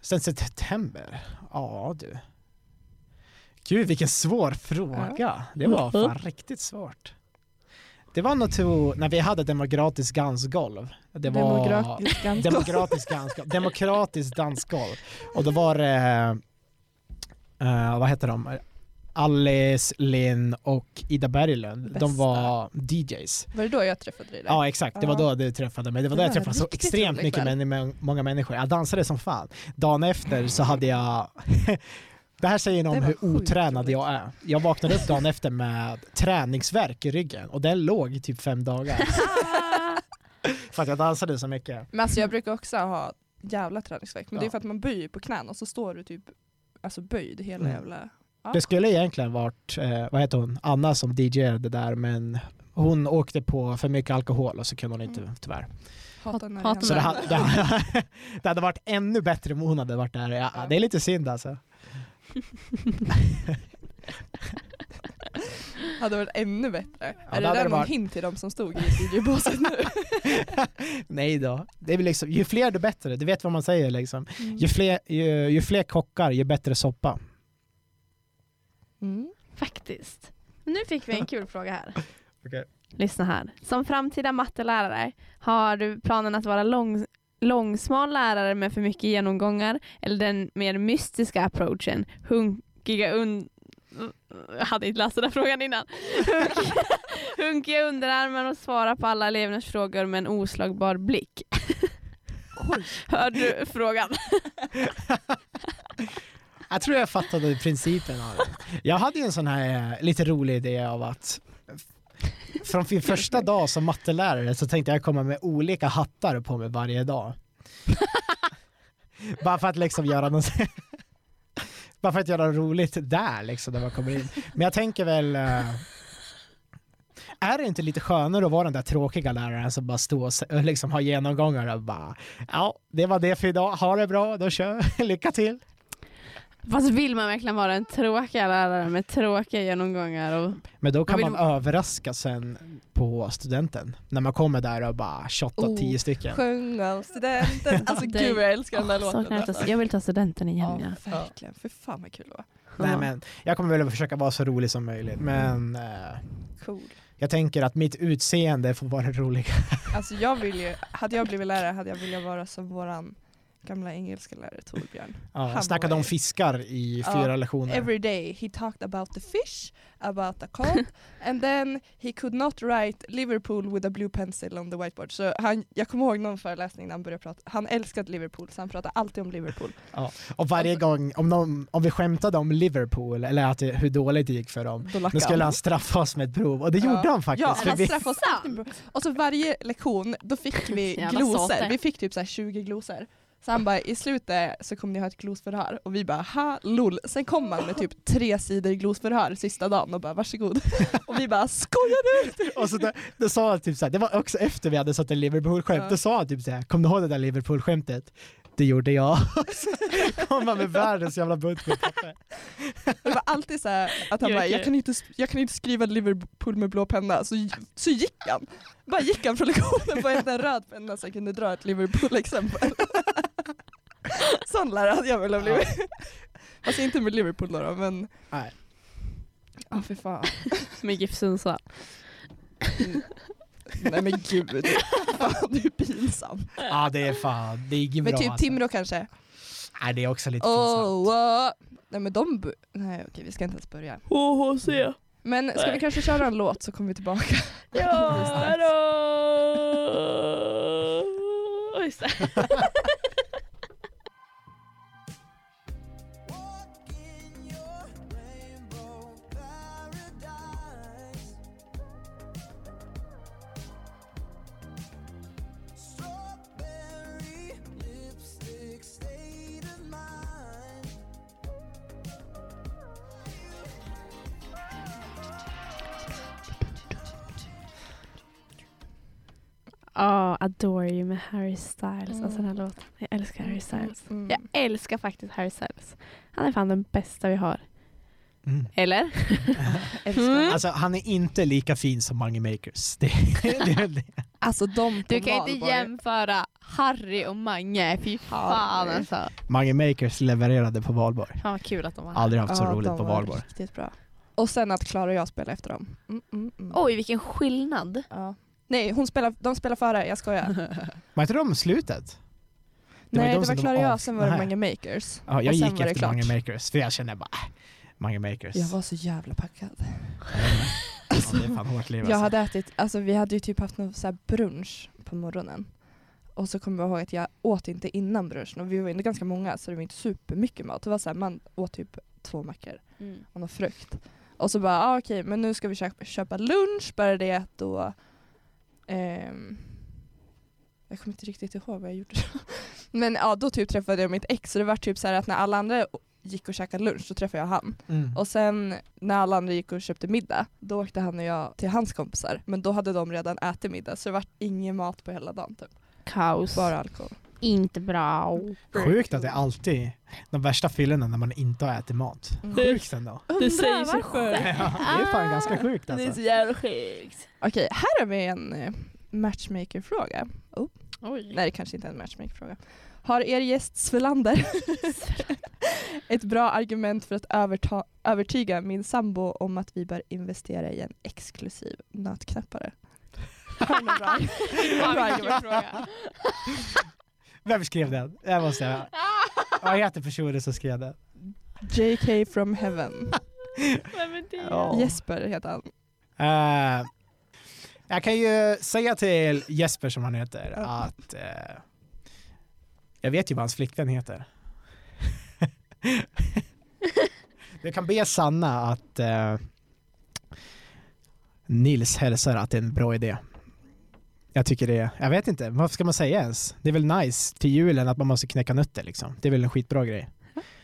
[SPEAKER 3] Sen september? Ja du. Gud vilken svår fråga. Det var fan
[SPEAKER 1] Mm.
[SPEAKER 3] riktigt svårt. Det var nog to, när vi hade demokratiskt dansgolv. Det var
[SPEAKER 1] Demokratisk ganska-
[SPEAKER 3] demokratiskt dansgolv. Demokratiskt dansgolv. Och då var det, eh, vad heter de? Alice, Linn och Ida Berglund. De
[SPEAKER 1] Bästa.
[SPEAKER 3] var DJs.
[SPEAKER 1] Var det då jag träffade dig? där?
[SPEAKER 3] Ja exakt, det var
[SPEAKER 1] Ja.
[SPEAKER 3] då du träffade mig. Det var
[SPEAKER 1] Det
[SPEAKER 3] då jag
[SPEAKER 1] var
[SPEAKER 3] träffade så
[SPEAKER 1] riktigt
[SPEAKER 3] extremt
[SPEAKER 1] rolig
[SPEAKER 3] mycket
[SPEAKER 1] kväll.
[SPEAKER 3] män, många människor. Jag dansade som fan. Dagen efter så hade jag... *laughs* det här säger något
[SPEAKER 1] Det
[SPEAKER 3] om
[SPEAKER 1] var
[SPEAKER 3] hur
[SPEAKER 1] sjukt
[SPEAKER 3] otränad
[SPEAKER 1] roligt.
[SPEAKER 3] jag är. Jag vaknade upp dagen efter med träningsvärk i ryggen och den låg i typ fem dagar.
[SPEAKER 2] Ah!
[SPEAKER 3] för att jag dansade så mycket.
[SPEAKER 1] Men alltså jag brukar också ha jävla träningsvärk, men det är
[SPEAKER 3] Ja.
[SPEAKER 1] för att man böjer på knän och så står du typ alltså böjd hela
[SPEAKER 3] Mm.
[SPEAKER 1] jävla... Ja.
[SPEAKER 3] Det skulle egentligen varit, eh, vad heter hon, Anna som DJade där men hon åkte på för mycket alkohol och så kunde hon inte
[SPEAKER 1] Mm.
[SPEAKER 3] tyvärr.
[SPEAKER 1] Hatar när
[SPEAKER 2] Hatar
[SPEAKER 1] det
[SPEAKER 3] Så det,
[SPEAKER 1] händer.
[SPEAKER 3] hade- det, hade- *laughs* det hade varit ännu bättre om hon hade varit där. Ja,
[SPEAKER 1] Ja.
[SPEAKER 3] Det är lite synd alltså.
[SPEAKER 1] *laughs* hade varit ännu bättre. är
[SPEAKER 3] hade
[SPEAKER 1] det där
[SPEAKER 3] det
[SPEAKER 1] någon
[SPEAKER 3] varit.
[SPEAKER 1] hint till de som stod i DJ-båset
[SPEAKER 2] *laughs*
[SPEAKER 1] nu?
[SPEAKER 3] *laughs* Nej då. Det är väl liksom, ju fler du bättre, du vet vad man säger liksom.
[SPEAKER 1] Mm.
[SPEAKER 3] Ju fler, ju, ju fler kockar, ju bättre soppa.
[SPEAKER 1] Mm.
[SPEAKER 2] Faktiskt. Nu fick vi en kul fråga här.
[SPEAKER 3] Okej.
[SPEAKER 2] Lyssna här. Som framtida mattelärare, har du planen att vara lång, långsmal lärare med för mycket genomgångar eller den mer mystiska approachen? Hunkiga und... Jag hade inte läst den här frågan innan. Hunkiga- Hunkiga underarmar och svara på alla elevernas frågor med en oslagbar blick. Hörde du frågan?
[SPEAKER 3] *laughs* Jag tror jag fattade principen av det. Jag hade ju en sån här eh, lite rolig idé av att från min första dag som mattelärare så tänkte jag komma med olika hattar på mig varje dag. Bara för att liksom göra något *laughs* Bara för att göra roligt där liksom när man kommer in. Men jag tänker väl eh, Är det inte lite skönare att vara den där tråkiga läraren som bara står och s- och liksom har genomgångar och bara Ja, det var det för idag. Ha det bra, då kör. *laughs* Lycka till.
[SPEAKER 2] Fast vill man verkligen vara en tråkig lärare med tråkiga genomgångar? Och...
[SPEAKER 3] Men då kan
[SPEAKER 2] Vad
[SPEAKER 3] man
[SPEAKER 2] vill
[SPEAKER 3] överraska sen på studenten. När man kommer där och bara shotta
[SPEAKER 1] Oh,
[SPEAKER 3] tio stycken.
[SPEAKER 1] Sjung av studenten. Alltså
[SPEAKER 2] Det-
[SPEAKER 1] gud vad jag älskar den där
[SPEAKER 2] Åh,
[SPEAKER 1] låten.
[SPEAKER 2] saknar
[SPEAKER 1] *laughs*
[SPEAKER 2] jag,
[SPEAKER 1] alltså.
[SPEAKER 2] ta, jag vill ta studenten igen.
[SPEAKER 1] Ja,
[SPEAKER 2] Ja.
[SPEAKER 1] verkligen. För fan vad kul det var.
[SPEAKER 3] Nej, men jag kommer väl att försöka vara så rolig som möjligt. Men eh,
[SPEAKER 1] Cool.
[SPEAKER 3] jag tänker att mitt utseende får vara *laughs* roligt.
[SPEAKER 1] Alltså jag vill ju, hade jag blivit lärare hade jag velat vara som våran gamla engelska lärare Torbjörn.
[SPEAKER 3] Ja,
[SPEAKER 1] Han
[SPEAKER 3] snackade
[SPEAKER 1] var
[SPEAKER 3] om
[SPEAKER 1] ju-
[SPEAKER 3] fiskar i
[SPEAKER 1] Ja,
[SPEAKER 3] fyra lektioner.
[SPEAKER 1] Every day he talked about the fish, about the cod,
[SPEAKER 3] *laughs*
[SPEAKER 1] and then he could not write Liverpool with a blue pencil on the whiteboard. Så han, jag kommer ihåg någon föreläsning när han började prata, han älskade Liverpool så han pratade alltid om Liverpool.
[SPEAKER 3] Och varje
[SPEAKER 1] alltså-
[SPEAKER 3] gång, om, någon, om vi skämtade om Liverpool eller att det, hur dåligt det gick för dem,
[SPEAKER 1] Då
[SPEAKER 3] då
[SPEAKER 1] lackade
[SPEAKER 3] skulle han straffa oss med ett prov. Och det gjorde han faktiskt.
[SPEAKER 1] Ja, alltså,
[SPEAKER 3] för
[SPEAKER 1] han
[SPEAKER 3] vi,
[SPEAKER 1] straffade oss alltid med- Och så varje lektion, då fick vi
[SPEAKER 2] Jävla
[SPEAKER 1] glosor.
[SPEAKER 2] såter.
[SPEAKER 1] Vi fick typ så här 20 glosor. Så han bara, i slutet så kommer ni ha ett glosförhör. Och vi bara, ha lol. Sen kom han med typ tre sidor glosförhör sista dagen och bara,
[SPEAKER 3] *laughs*
[SPEAKER 1] varsågod. Och vi bara, skojar du?
[SPEAKER 3] och så då, då sa han typ såhär, det var också efter vi hade satt en Liverpool-skämt,
[SPEAKER 1] Ja.
[SPEAKER 3] då sa han typ såhär, kom du ihåg det där Liverpool-skämtet? Det gjorde jag. *laughs* Så kom han med världens jävla bunt med papper.
[SPEAKER 1] Det var alltid så här att han
[SPEAKER 2] Jag
[SPEAKER 1] bara,
[SPEAKER 2] kan-
[SPEAKER 1] jag kan, inte, jag kan inte skriva Liverpool med blå penna. Så, så gick han. Bara gick han från lektionen på en röd penna så jag kunde dra ett Liverpool-exempel. *laughs* Sån lärare hade jag velat bli.
[SPEAKER 3] Ja.
[SPEAKER 1] Alltså inte med Liverpool då, då men...
[SPEAKER 3] Nej.
[SPEAKER 1] Ja för fan.
[SPEAKER 2] Med GIF Sundsvall.
[SPEAKER 1] Nej men gud. Fan det är pinsamt.
[SPEAKER 3] Ja det är fan, det gick
[SPEAKER 1] Men
[SPEAKER 3] bra
[SPEAKER 1] typ
[SPEAKER 3] alltså.
[SPEAKER 1] Timrå kanske.
[SPEAKER 3] Nej det är också lite
[SPEAKER 1] Oh,
[SPEAKER 3] pinsamt.
[SPEAKER 1] oh. Nej men de... bu- Nej okej vi ska inte ens börja.
[SPEAKER 2] HHC.
[SPEAKER 1] Men ska vi
[SPEAKER 2] Nej.
[SPEAKER 1] kanske köra en låt så kommer vi tillbaka.
[SPEAKER 2] Ja då! *laughs* Just det.
[SPEAKER 4] Strawberry lipstick state of mind.
[SPEAKER 2] Ja, Adore You med Harry Styles. Alltså den här låten. Jag älskar Harry Styles.
[SPEAKER 1] Mm.
[SPEAKER 2] Jag älskar faktiskt Harry Styles. Han är fan den bästa vi har.
[SPEAKER 3] *laughs* Mm.
[SPEAKER 2] Eller?
[SPEAKER 1] Älskar.
[SPEAKER 3] Alltså han är inte lika fin som Mange Makers. Det, det, är det.
[SPEAKER 1] Alltså de på
[SPEAKER 2] Du kan inte
[SPEAKER 1] Valborg.
[SPEAKER 2] jämföra Harry och Mange. Fy fan
[SPEAKER 1] Harry.
[SPEAKER 2] alltså.
[SPEAKER 3] Mange Makers levererade på Valborg.
[SPEAKER 2] Fan vad kul att de var här.
[SPEAKER 3] Aldrig haft så
[SPEAKER 1] Ja,
[SPEAKER 3] roligt
[SPEAKER 1] de
[SPEAKER 3] på
[SPEAKER 1] var
[SPEAKER 3] Valborg.
[SPEAKER 1] Riktigt bra. Och sen att Klara och jag spelar efter dem. Mm, mm, mm.
[SPEAKER 2] Oj vilken skillnad.
[SPEAKER 1] Ja. Nej, hon spelar, de spelar före, jag skojar.
[SPEAKER 3] Var inte de slutet? Det var ju
[SPEAKER 1] Nej,
[SPEAKER 3] de
[SPEAKER 1] det
[SPEAKER 3] som
[SPEAKER 1] var
[SPEAKER 3] de
[SPEAKER 1] Klara och jag,
[SPEAKER 3] av-
[SPEAKER 1] sen var det
[SPEAKER 3] Nej.
[SPEAKER 1] Mange Makers.
[SPEAKER 3] Ja, jag
[SPEAKER 1] Och sen
[SPEAKER 3] gick
[SPEAKER 1] var det
[SPEAKER 3] efter
[SPEAKER 1] klart.
[SPEAKER 3] Mange Makers för jag kände bara, äh, Mange Makers.
[SPEAKER 1] Jag var så jävla packad.
[SPEAKER 3] Ja, det är fan hårt liv
[SPEAKER 1] Jag
[SPEAKER 3] alltså.
[SPEAKER 1] hade ätit, alltså vi hade ju typ haft någon så här brunch på morgonen. Och så kommer jag ihåg att jag åt inte innan brunchen och vi var ändå ganska många så det var inte supermycket mat. Det var så här, man åt typ två mackor
[SPEAKER 2] Mm.
[SPEAKER 1] och någon frukt. Och så bara, ah, okej men nu ska vi köpa, köpa lunch, bara det att då ehm, jag kommer inte riktigt ihåg vad jag gjorde. *laughs* Men ja, då typ träffade jag mitt ex så det var typ så här att när alla andra gick och käkade lunch så träffade jag han.
[SPEAKER 3] Mm.
[SPEAKER 1] Och sen när alla andra gick och köpte middag, då åkte han och jag till hans kompisar. Men då hade de redan ätit middag så det var ingen mat på hela dagen typ.
[SPEAKER 2] Kaos.
[SPEAKER 1] Bara alkohol.
[SPEAKER 2] Inte bra.
[SPEAKER 3] Sjukt att det alltid är de värsta fyllorna när man inte har ätit mat.
[SPEAKER 1] Mm. *laughs*
[SPEAKER 3] Sjukt ändå.
[SPEAKER 2] Det säger sig
[SPEAKER 3] Ja,
[SPEAKER 2] själv.
[SPEAKER 3] det är fan ganska sjukt alltså.
[SPEAKER 2] jävla sjukt.
[SPEAKER 1] Okej, här har vi en eh, matchmaker-fråga.
[SPEAKER 2] Oj. *laughs*
[SPEAKER 1] Nej, det kanske inte är en matchmaker-fråga. Har er gäst Svelander ett bra argument för att överta- övertyga min sambo om att vi bör investera i en exklusiv nötknäppare? Har ni något
[SPEAKER 2] *laughs*
[SPEAKER 1] bra- bra argument?
[SPEAKER 3] Vem skrev den? Jag
[SPEAKER 2] *laughs*
[SPEAKER 3] måste säga. Vad heter personen som skrev den?
[SPEAKER 1] JK from heaven.
[SPEAKER 2] Vem är det?
[SPEAKER 3] Ja.
[SPEAKER 1] Jesper heter han.
[SPEAKER 3] Eh, jag kan ju säga till Jesper som han heter att eh, jag vet ju vad hans flickvän heter. *laughs* du kan be Sanna att eh, Nils hälsar att det är en bra idé. Jag tycker det, jag vet inte, vad ska man säga ens? Det är väl nice till julen att man måste knäcka nötter liksom. Det är väl en skitbra grej.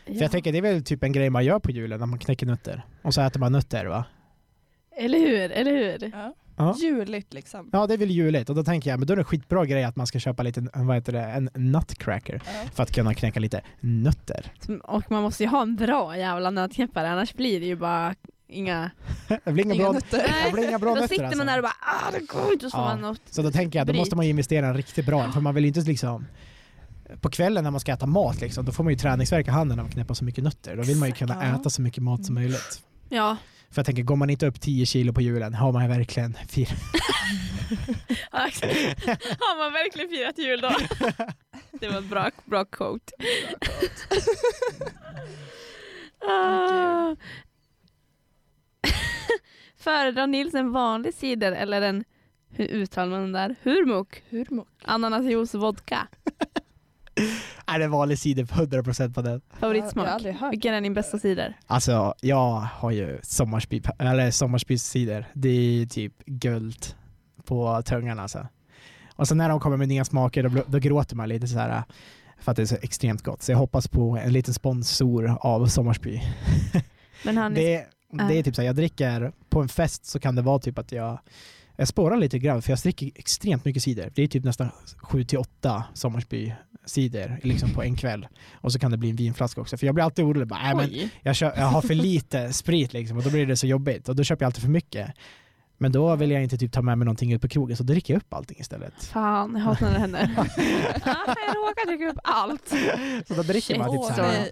[SPEAKER 3] För jag tänker det är väl typ en grej man gör på julen när man knäcker nötter. Och så äter man nötter va?
[SPEAKER 2] Eller hur? Eller hur?
[SPEAKER 3] Ja.
[SPEAKER 1] Juligt liksom.
[SPEAKER 3] Ja, det är väl juligt. Och då tänker jag, men då är det en skitbra grej att man ska köpa lite, vad heter det, en nutcracker för att kunna knäcka lite nötter. *laughs*
[SPEAKER 2] Som- Och man måste ju ha en bra jävla nötknäppare annars blir det ju bara inga...
[SPEAKER 3] Det blir inga
[SPEAKER 1] Inga
[SPEAKER 3] bra,
[SPEAKER 1] nötter.
[SPEAKER 3] det blir inga bra
[SPEAKER 2] Då
[SPEAKER 3] nötter
[SPEAKER 2] sitter
[SPEAKER 3] alltså.
[SPEAKER 2] man där och bara ah det går inte och så
[SPEAKER 3] Ja.
[SPEAKER 2] får man något.
[SPEAKER 3] Så då tänker jag, då måste man ju investera i en riktigt bra, för man vill ju inte liksom på kvällen när man ska äta mat liksom, då får man ju träningsvärk i handen när man knäpper så mycket nötter. Då vill man ju kunna
[SPEAKER 1] Ja.
[SPEAKER 3] äta så mycket mat som
[SPEAKER 2] Mm.
[SPEAKER 3] möjligt.
[SPEAKER 2] Ja.
[SPEAKER 3] För jag tänker, går man inte upp 10 kilo på julen har man ju verkligen fir- *laughs*
[SPEAKER 2] Har man verkligen firat jul då? *laughs* Det var ett bra, bra quote. *laughs*
[SPEAKER 1] Åh,
[SPEAKER 2] Föredrar Nils en vanlig cider eller en, hur uttalar man den där, hurmuk?
[SPEAKER 1] Hurmok.
[SPEAKER 2] Ananasjuice och vodka.
[SPEAKER 3] Är det vanlig cider på 100% på den?
[SPEAKER 1] Jag har
[SPEAKER 2] Favoritsmak.
[SPEAKER 1] aldrig hört.
[SPEAKER 2] Vilken är din bästa cider?
[SPEAKER 3] Alltså jag har ju sommarspy, eller sommarspycider. Det är typ guld på tungan alltså. Och sen när de kommer med nya smaker då, bl- då gråter man lite så här äh, för att det är så extremt gott. Så jag hoppas på en liten sponsor av Sommarspy.
[SPEAKER 2] Men han är...
[SPEAKER 3] Det, det är typ så här, jag dricker, på en fest så kan det vara typ att jag, jag spårar lite grann för jag dricker extremt mycket cider. Det är typ nästan 7-8 Sommarspy-cider liksom på en kväll. Och så kan det bli en vinflaska också. För jag blir alltid orolig, bara, "Nej, men
[SPEAKER 2] Oj.
[SPEAKER 3] jag, kö- jag har för lite sprit liksom och då blir det så jobbigt och då köper jag alltid för mycket. Men då vill jag inte typ ta med mig någonting ut på krogen så då dricker jag upp allting istället.
[SPEAKER 2] Fan, jag hatar när det
[SPEAKER 3] *laughs*
[SPEAKER 2] händer. *laughs* Ah, jag råkar dricka upp allt.
[SPEAKER 3] Så då dricker man
[SPEAKER 2] Shit.
[SPEAKER 3] typ så
[SPEAKER 2] Åh,
[SPEAKER 3] här,
[SPEAKER 1] nej.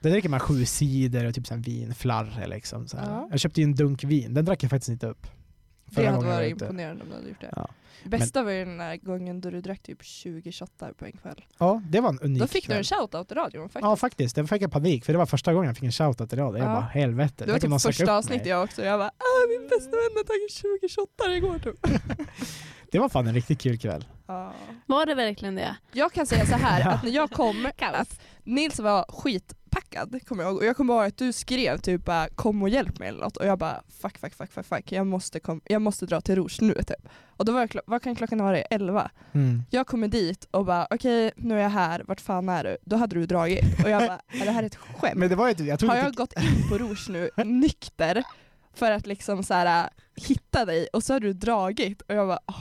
[SPEAKER 3] då dricker man sju cider och typ så här vinflarre liksom. Så här.
[SPEAKER 1] Ja.
[SPEAKER 3] Jag köpte ju en dunk vin, den drack jag faktiskt inte upp.
[SPEAKER 1] Det hade
[SPEAKER 3] jag
[SPEAKER 1] varit
[SPEAKER 3] ute.
[SPEAKER 1] imponerande om du hade gjort det.
[SPEAKER 3] Ja.
[SPEAKER 1] Bästa var ju den där gången då du drack typ 20 shottar på en kväll.
[SPEAKER 3] Ja, det var en unik
[SPEAKER 1] Då fick du
[SPEAKER 3] kväll.
[SPEAKER 1] en shoutout i radion faktiskt.
[SPEAKER 3] Ja faktiskt, den fick jag panik för det var första gången jag fick en shoutout i rad. Jag
[SPEAKER 1] Ja.
[SPEAKER 3] bara helvete.
[SPEAKER 1] det var
[SPEAKER 3] tänk om någon
[SPEAKER 1] typ
[SPEAKER 3] söker upp
[SPEAKER 1] första
[SPEAKER 3] mig.
[SPEAKER 1] avsnittet jag också. Jag bara ah, min bästa vän har tagit 20 shottar igår typ.
[SPEAKER 3] Det var fan en riktigt kul kväll.
[SPEAKER 1] Ja.
[SPEAKER 2] Var det verkligen det?
[SPEAKER 1] Jag kan säga så *laughs* här
[SPEAKER 3] Ja.
[SPEAKER 1] att när jag kom, att Nils var skitpackad kommer jag ihåg. Och jag kommer ihåg att du skrev typ bara kom och hjälp mig eller något. Och jag bara fuck fuck fuck fuck fuck jag måste, kom, jag måste dra till Rouge nu typ. Och då var jag, klo- vad kan klockan vara? 11?
[SPEAKER 3] Mm.
[SPEAKER 1] Jag kommer dit och bara okej nu är jag här, vart fan är du? Då hade du dragit. Och jag bara är det här är ett skämt?
[SPEAKER 3] Men det var ju typ, jag tror
[SPEAKER 1] har
[SPEAKER 3] inte-
[SPEAKER 1] jag gått in på Rouge nu nykter för att liksom så här, hitta dig och så har du dragit och jag bara åh.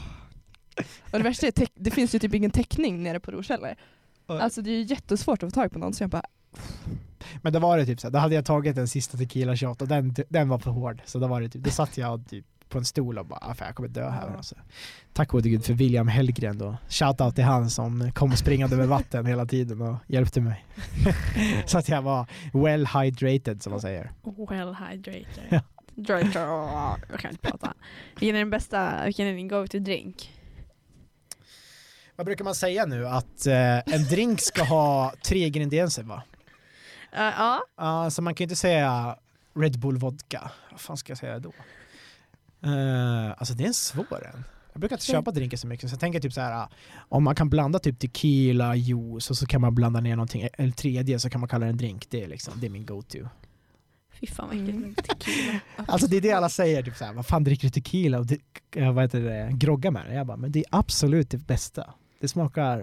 [SPEAKER 1] Och det värsta är teck- det finns ju typ ingen täckning nere på Rouge heller.
[SPEAKER 3] Ja.
[SPEAKER 1] Alltså det är ju jättesvårt att få tag på någon så jag bara
[SPEAKER 3] Men då var det typ så här, då hade jag tagit en sista tequila shot och den, den var för hård. Så då var det typ, då satt jag typ på en stol och bara, "Ah, fan jag kommer dö här.
[SPEAKER 1] Ja.
[SPEAKER 3] Alltså. Tack gode gud för William Hellgren då. Shoutout till han som kom springande över vatten hela tiden och hjälpte mig. *laughs* så att jag var well hydrated som man säger.
[SPEAKER 2] Well hydrated.
[SPEAKER 3] Ja.
[SPEAKER 2] Jag kan inte prata. Vilken är din bästa, vilken är din go-to drink?
[SPEAKER 3] Vad brukar man säga nu? Att eh, en drink ska ha tre ingredienser va?
[SPEAKER 2] Ja, Eh, ja.
[SPEAKER 3] Ja, så man kan ju inte säga Red Bull vodka. Vad fan ska jag säga då? Eh, alltså det är en svår en. Jag brukar inte köpa drinkar så mycket så jag tänker typ så här om man kan blanda typ tequila, juice och så kan man blanda ner någonting, eller tredje så kan man kalla det en drink. Det är liksom, det är min go-to.
[SPEAKER 2] Fy fan vad äckligt med tequila.
[SPEAKER 3] Alltså det är det alla säger, typ så här, vad fan dricker du tequila och drick- eh, vad heter det, groggar med det? Jag bara, men det är absolut det bästa. Det smakar,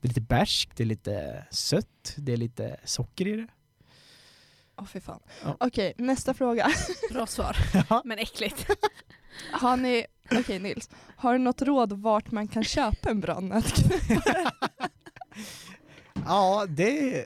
[SPEAKER 3] det är lite bärskt, det är lite sött, det är lite socker i det.
[SPEAKER 1] åh fy fan.
[SPEAKER 3] Ja.
[SPEAKER 1] Okej nästa fråga.
[SPEAKER 2] Bra svar, men äckligt.
[SPEAKER 1] Har ni, okej Nils, har du något råd vart man kan köpa en bra nötknäckare?
[SPEAKER 3] *laughs* Ja, det,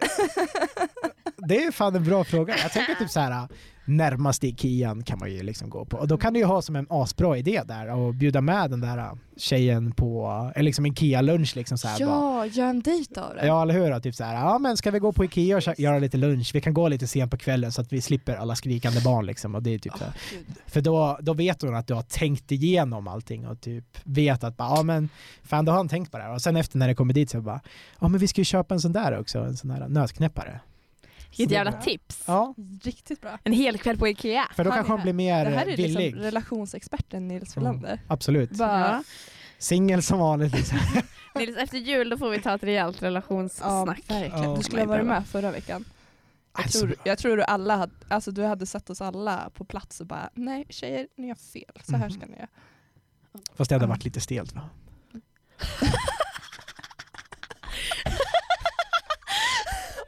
[SPEAKER 3] det är fan en bra fråga. Jag tänker typ så här närmast Ikean kan man ju liksom gå på. Och då kan du ju ha som en asbra idé där och bjuda med den där tjejen på, eller liksom Ikea-lunch liksom så här bara.
[SPEAKER 1] ja, gör en dejt av det.
[SPEAKER 3] Ja eller hur? Typ så här, ja men ska vi gå på Ikea och kö- göra lite lunch? Vi kan gå lite sent på kvällen så att vi slipper alla skrikande barn liksom. Och det är typ så här.
[SPEAKER 1] Gud.
[SPEAKER 3] För då, då vet hon att du har tänkt igenom allting och typ vet att bara, ja men fan då har han tänkt på det här. Och sen efter när det kommer dit så bara, ja men vi ska ju köpa en sån där också, en sån där nötknäppare.
[SPEAKER 2] *laughs* Vilket jävla tips.
[SPEAKER 3] Ja,
[SPEAKER 1] Riktigt bra.
[SPEAKER 2] En hel kväll på Ikea.
[SPEAKER 3] för då
[SPEAKER 1] Han är
[SPEAKER 3] kanske hon
[SPEAKER 1] här.
[SPEAKER 3] blir mer
[SPEAKER 1] Det här är
[SPEAKER 3] eh, villig.
[SPEAKER 1] liksom relationsexperten Nils
[SPEAKER 3] Mm.
[SPEAKER 1] Welander.
[SPEAKER 3] Absolut.
[SPEAKER 1] Bara,
[SPEAKER 3] Singel som vanligt liksom.
[SPEAKER 2] Nils, efter jul då får vi ta ett rejält relationssnack.
[SPEAKER 1] verkligen.
[SPEAKER 3] Ja.
[SPEAKER 1] Du skulle ha varit med förra veckan. Jag
[SPEAKER 3] Alltså,
[SPEAKER 1] tror, jag tror du alla hade, alltså du hade sett oss alla på plats och bara nej tjejer ni har fel, så här
[SPEAKER 3] Mhm.
[SPEAKER 1] ska ni göra.
[SPEAKER 3] Fast det hade varit lite stelt va?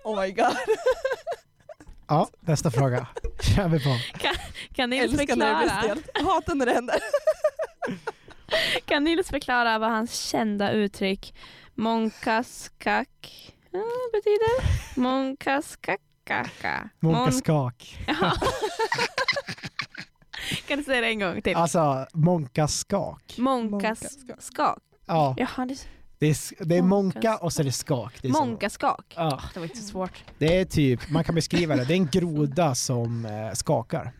[SPEAKER 1] Oh my god.
[SPEAKER 3] Ja,
[SPEAKER 1] *laughs*
[SPEAKER 3] nästa fråga. Kör vi på.
[SPEAKER 2] Kan Nils,
[SPEAKER 1] Älskar när det blir
[SPEAKER 2] förklara,
[SPEAKER 1] stelt. Hatar när det händer.
[SPEAKER 2] kan Nils förklara vad hans kända uttryck monkaskak eh, betyder? Monkaskakaka.
[SPEAKER 3] Munka skak.
[SPEAKER 2] Ja. kan du säga det en gång till?
[SPEAKER 3] *laughs* Alltså, monka skak.
[SPEAKER 2] Monkaskak.
[SPEAKER 3] Ja,
[SPEAKER 2] Jaha, det är så-
[SPEAKER 3] det är, s- det är
[SPEAKER 2] Monka
[SPEAKER 3] monka
[SPEAKER 2] skak.
[SPEAKER 3] och så är det skak. Det är så-
[SPEAKER 2] monkaskak.
[SPEAKER 3] Ja.
[SPEAKER 2] Det var inte så svårt.
[SPEAKER 3] Det är typ, man kan beskriva det, det är en groda som eh, skakar.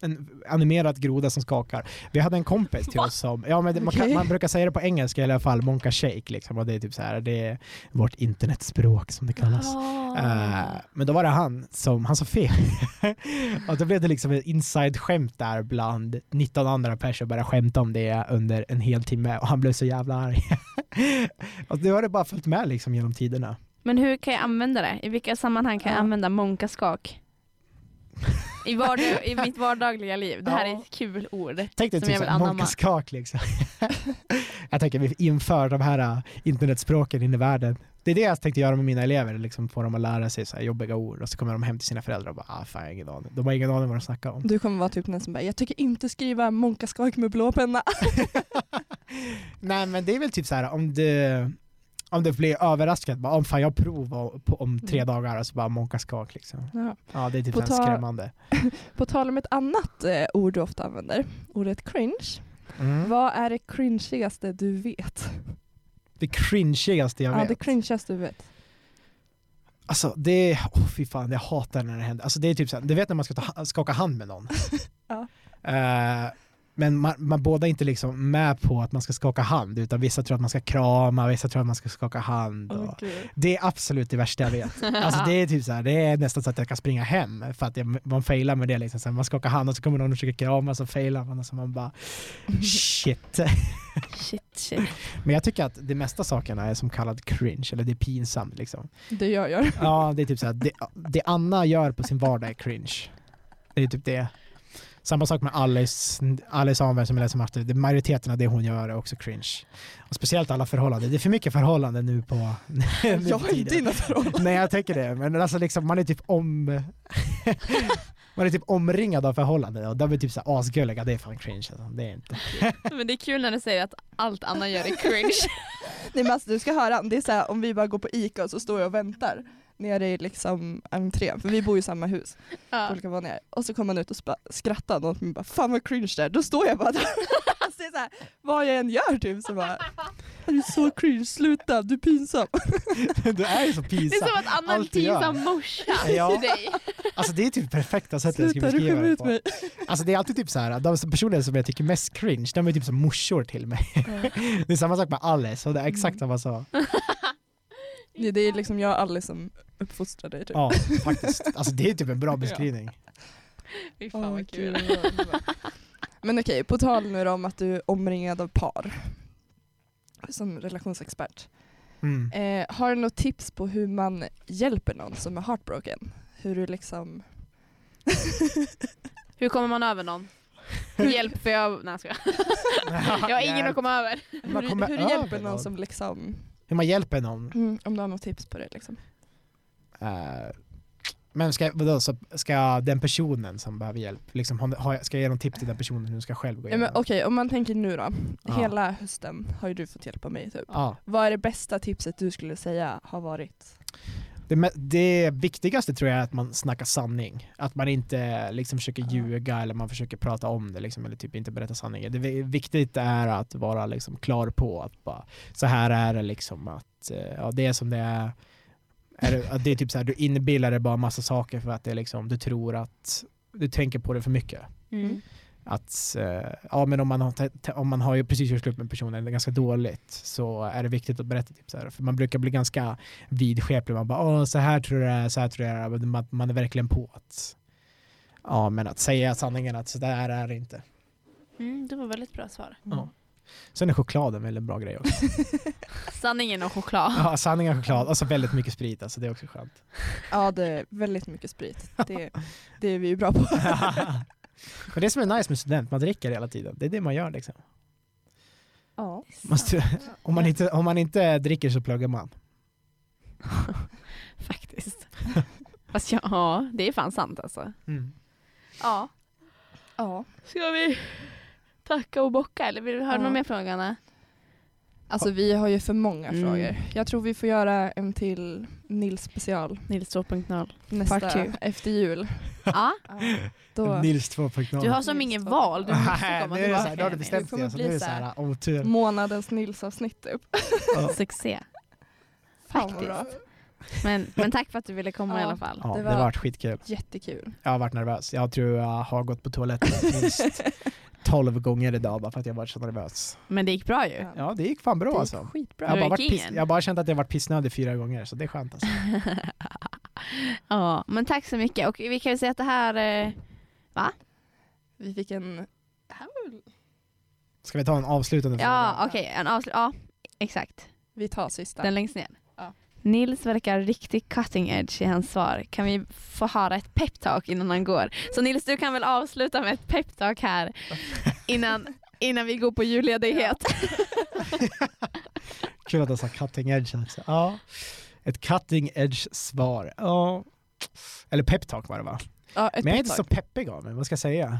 [SPEAKER 3] en animerad groda som skakar. Vi hade en kompis till
[SPEAKER 2] Va?
[SPEAKER 3] oss som, ja men det- man, kan,
[SPEAKER 1] Okej.
[SPEAKER 3] man brukar säga det på engelska i alla fall, monka shake liksom och det är typ så här, det är vårt internetspråk som det kallas.
[SPEAKER 2] Ah.
[SPEAKER 3] Eh, men då var det han som, han sa fel. *laughs* och då blev det liksom ett inside-skämt där bland 19 andra personer började skämta om det under en hel timme och han blev så jävla arg. *laughs* och det har det bara följt med liksom genom tiderna.
[SPEAKER 2] Men hur kan jag använda det? I vilka sammanhang kan jag
[SPEAKER 1] Ja.
[SPEAKER 2] använda monkaskak? I, vardag, I *laughs* mitt vardagliga liv. Det här är ett kul ord.
[SPEAKER 3] Tänk
[SPEAKER 2] Som
[SPEAKER 3] dig
[SPEAKER 2] jag
[SPEAKER 3] typ
[SPEAKER 2] vill
[SPEAKER 3] såhär,
[SPEAKER 2] anamma.
[SPEAKER 3] monkaskak liksom. jag tänker vi inför de här äh, internetspråken in i världen. Det är det jag tänkte göra med mina elever, liksom få dem att lära sig så här jobbiga ord och så kommer de hem till sina föräldrar och bara ah, fan, jag har ingen aning. De har ingen aning vad de
[SPEAKER 1] *laughs*
[SPEAKER 3] snackar om.
[SPEAKER 1] Du kommer vara typ den som bara, jag tycker inte skriva monkaskak med blå penna.
[SPEAKER 3] Nej men det är väl typ så här om du om du blir överraskad, bara om fan jag provar på, om tre
[SPEAKER 1] Mm.
[SPEAKER 3] dagar och så bara monka skak liksom.
[SPEAKER 1] Ja.
[SPEAKER 3] Ja det är typ
[SPEAKER 1] På
[SPEAKER 3] så här
[SPEAKER 1] tal-
[SPEAKER 3] skrämmande.
[SPEAKER 1] På tal om ett annat eh, ord du ofta använder, ordet cringe.
[SPEAKER 3] Mm.
[SPEAKER 1] Vad är det cringigaste du vet?
[SPEAKER 3] Det cringigaste jag
[SPEAKER 1] Ja,
[SPEAKER 3] vet.
[SPEAKER 1] det cringigaste du
[SPEAKER 3] *laughs*
[SPEAKER 1] vet.
[SPEAKER 3] Alltså det, oh, fy fan jag hatar när det händer. Alltså det är typ såhär, du vet när man ska ta, skaka hand med någon?
[SPEAKER 1] Ja.
[SPEAKER 3] Eh, men man, man båda är inte liksom med på att man ska skaka hand utan vissa tror att man ska krama, vissa tror att man ska skaka hand.
[SPEAKER 1] Oh
[SPEAKER 3] Och, Det är absolut det värsta jag vet. Alltså det är typ så här, det är nästan så att jag kan springa hem för att jag, man failar med det liksom. Så här, man skakar hand och så kommer någon och försöker krama så failar man och så man bara shit.
[SPEAKER 2] *laughs* Shit, shit.
[SPEAKER 3] Men jag tycker att de mesta sakerna är som kallad cringe eller det är pinsamt liksom.
[SPEAKER 1] Det jag gör.
[SPEAKER 3] Ja det är typ så här, det, det Anna gör på sin vardag är cringe. Det är typ det. Samma sak med Alice, Alice Anberg som jag läser matte. Det- Majoriteten av det hon gör är också cringe. Och speciellt alla förhållanden. Det är för mycket förhållanden nu
[SPEAKER 1] *laughs*
[SPEAKER 3] på... nu för
[SPEAKER 1] Jag har
[SPEAKER 3] tiden.
[SPEAKER 1] inte dina förhållanden.
[SPEAKER 3] Nej jag tänker det, men alltså liksom, man är typ om... *laughs* man är typ omringad av förhållanden och de är typ så här asgulliga, det är fan cringe alltså. det
[SPEAKER 1] *laughs*
[SPEAKER 3] är inte.
[SPEAKER 2] Men det är kul när du säger att allt Anna gör är cringe.
[SPEAKER 1] Nej men alltså du ska höra, det är så här, om vi bara går på Ica och så står jag och väntar nere i liksom entrén, för vi bor ju i samma hus på
[SPEAKER 2] *laughs* Ja.
[SPEAKER 1] olika våningar. Och så kommer han ut och spa- skrattar något och bara fan vad cringe det är, då står jag bara där. *laughs* Alltså, det är så här, vad jag än gör typ så bara, du är så cringe, sluta, du är pinsam.
[SPEAKER 3] du är ju så
[SPEAKER 2] Det är
[SPEAKER 3] pinsam.
[SPEAKER 2] som att Anna är en
[SPEAKER 3] Allt du gör.
[SPEAKER 2] pinsam morsa
[SPEAKER 3] *laughs* Ja.
[SPEAKER 2] till *laughs* dig.
[SPEAKER 3] Alltså det är typ perfekta sättet jag skulle
[SPEAKER 1] Sluta, du
[SPEAKER 3] beskriva
[SPEAKER 1] skämmer
[SPEAKER 3] det
[SPEAKER 1] ut
[SPEAKER 3] på. *laughs*
[SPEAKER 1] mig.
[SPEAKER 3] Alltså det är alltid typ så här, de personer som jag tycker mest cringe, de är typ som morsor till mig. *laughs* det är samma sak med Alice, och det är exakt samma sak.
[SPEAKER 1] Det, det är liksom jag och Alice som uppfostrar dig typ.
[SPEAKER 3] Ja, *laughs* faktiskt. Alltså det är typ *laughs* en bra beskrivning.
[SPEAKER 2] Fy fan
[SPEAKER 1] Åh,
[SPEAKER 2] vad kul.
[SPEAKER 1] gud, vad bra. *laughs* Men okej, på tal nu då om att du är omringad av par som relationsexpert.
[SPEAKER 3] Mm.
[SPEAKER 1] Eh, har du något tips på hur man hjälper någon som är heartbroken? Hur du liksom...
[SPEAKER 2] Hur kommer man över någon? Hjälp för jag... Nej, jag skojar. *laughs* Jag har ingen att komma över.
[SPEAKER 3] Man
[SPEAKER 1] hur
[SPEAKER 3] kommer
[SPEAKER 1] hur
[SPEAKER 3] över
[SPEAKER 1] hjälper någon
[SPEAKER 3] någon.
[SPEAKER 1] som liksom...
[SPEAKER 3] Hur man hjälper någon.
[SPEAKER 1] Mm, om du har något tips på det liksom.
[SPEAKER 3] Eh, men ska, vadå, så ska den personen som behöver hjälp, liksom, har- har, ska jag ge någon tips till den personen hur den ska själv gå
[SPEAKER 1] Ja,
[SPEAKER 3] igenom?
[SPEAKER 1] men Okej, om man tänker nu då.
[SPEAKER 3] Ja.
[SPEAKER 1] Hela hösten har ju du fått hjälpa mig typ.
[SPEAKER 3] Ja,
[SPEAKER 1] Vad är det bästa tipset du skulle säga har varit?
[SPEAKER 3] det, me- det viktigaste tror jag är att man snackar sanning. Att man inte liksom försöker
[SPEAKER 1] Ja.
[SPEAKER 3] ljuga eller man försöker prata om det liksom, eller typ inte berätta sanningen. Det vi- viktigt är att vara liksom klar på att bara, så här är det liksom att eh, ja, det är som det är. är det, att det är typ så här, du inbillar dig bara massa saker för att det är liksom, du tror att du tänker på det för mycket.
[SPEAKER 1] Mm.
[SPEAKER 3] att eh, ja, men om, man har, te- te- om man har ju precis gjort slut med personen det är ganska dåligt så är det viktigt att berätta. Typ, så här. För man brukar bli ganska vidskeplig. Man bara Åh, så här tror jag det är, så här tror jag det är. Men man, man är verkligen på att, ja, men att säga sanningen att så där är det inte.
[SPEAKER 2] Mm, det var väldigt bra svar.
[SPEAKER 3] Ja. Sen är chokladen väl en bra grej också.
[SPEAKER 2] Sanningen och choklad.
[SPEAKER 3] Ja, sanningen och choklad. Alltså väldigt mycket sprit. Alltså, det är också skönt.
[SPEAKER 1] *laughs* Ja, det är väldigt mycket sprit. Det, det är vi ju bra på.
[SPEAKER 3] Men det som är nice med student, man dricker hela tiden. Det är det man gör liksom.
[SPEAKER 1] Ja.
[SPEAKER 3] Man stu- om, man inte, om man inte dricker så pluggar man.
[SPEAKER 2] *laughs*
[SPEAKER 3] *laughs*
[SPEAKER 2] Faktiskt. Fast ja, ja, det är fan sant alltså.
[SPEAKER 3] Mm.
[SPEAKER 2] Ja.
[SPEAKER 1] ja.
[SPEAKER 2] Ska vi tacka och bocka eller vill du höra
[SPEAKER 1] Ja.
[SPEAKER 2] någon mer fråga Anna?
[SPEAKER 1] Alltså vi har ju för många
[SPEAKER 2] Mm.
[SPEAKER 1] frågor. Jag tror vi får göra en till Nils special
[SPEAKER 2] Nils 2.0. Part
[SPEAKER 1] nästa
[SPEAKER 2] two.
[SPEAKER 1] efter
[SPEAKER 2] *laughs*
[SPEAKER 1] jul.
[SPEAKER 2] Ja,
[SPEAKER 1] Då
[SPEAKER 3] Nils 2.0.
[SPEAKER 2] du har som
[SPEAKER 1] Nils
[SPEAKER 2] inget
[SPEAKER 1] 2.0.
[SPEAKER 2] val. Du måste
[SPEAKER 3] Nej,
[SPEAKER 2] komma
[SPEAKER 3] nu är det så här, då
[SPEAKER 2] tillbaka.
[SPEAKER 3] har du
[SPEAKER 2] Emil.
[SPEAKER 3] bestämt
[SPEAKER 1] kommer
[SPEAKER 3] dig. Alltså, nu
[SPEAKER 1] bli
[SPEAKER 3] är det så
[SPEAKER 1] så här. Mm.
[SPEAKER 3] här, otur.
[SPEAKER 1] månadens Nils-avsnitt upp.
[SPEAKER 3] Ja.
[SPEAKER 2] Succé.
[SPEAKER 1] *laughs* Fan vad
[SPEAKER 2] Faktiskt.
[SPEAKER 1] bra.
[SPEAKER 2] Men, men tack för att du ville komma i
[SPEAKER 1] Ja.
[SPEAKER 2] alla fall.
[SPEAKER 3] Ja,
[SPEAKER 1] Det
[SPEAKER 3] det
[SPEAKER 1] var-
[SPEAKER 3] var varit skitkul.
[SPEAKER 1] Jättekul.
[SPEAKER 3] Jag har varit nervös. Jag tror jag har gått på toaletten
[SPEAKER 1] *laughs*
[SPEAKER 3] minst 12 gånger idag bara för att jag varit så nervös.
[SPEAKER 2] Men det gick bra ju.
[SPEAKER 3] Ja, det gick fan bra
[SPEAKER 1] det
[SPEAKER 3] alltså.
[SPEAKER 1] är skitbra.
[SPEAKER 3] Jag har,
[SPEAKER 2] Du
[SPEAKER 3] bara
[SPEAKER 2] är
[SPEAKER 3] varit piss,
[SPEAKER 2] kingen.
[SPEAKER 3] jag har bara känt att jag varit pissnödig fyra gånger så det är skönt alltså.
[SPEAKER 2] *laughs* ja, men tack så mycket. Och vi kan ju säga att det här... Eh,
[SPEAKER 1] Vi fick en... Det här var väl...
[SPEAKER 3] Ska vi ta en avslutande fråga? *laughs*
[SPEAKER 2] ja, okej. en avslut... Ja, exakt.
[SPEAKER 1] Vi tar sista.
[SPEAKER 2] Den längst ner.
[SPEAKER 1] Ja.
[SPEAKER 2] Nils verkar riktigt cutting edge i hans svar. Kan vi få höra ett peptalk innan han går? Så Nils, du kan väl avsluta med ett peptalk *laughs* här innan, innan vi går på julledighet.
[SPEAKER 3] Kul att jag sa cutting edge också. Ja. Ett cutting edge svar. Ja. Eller peptalk var det va?
[SPEAKER 1] Ja, ett
[SPEAKER 3] Men jag är inte
[SPEAKER 1] pep
[SPEAKER 3] så
[SPEAKER 1] talk.
[SPEAKER 3] peppig av mig, vad ska jag säga?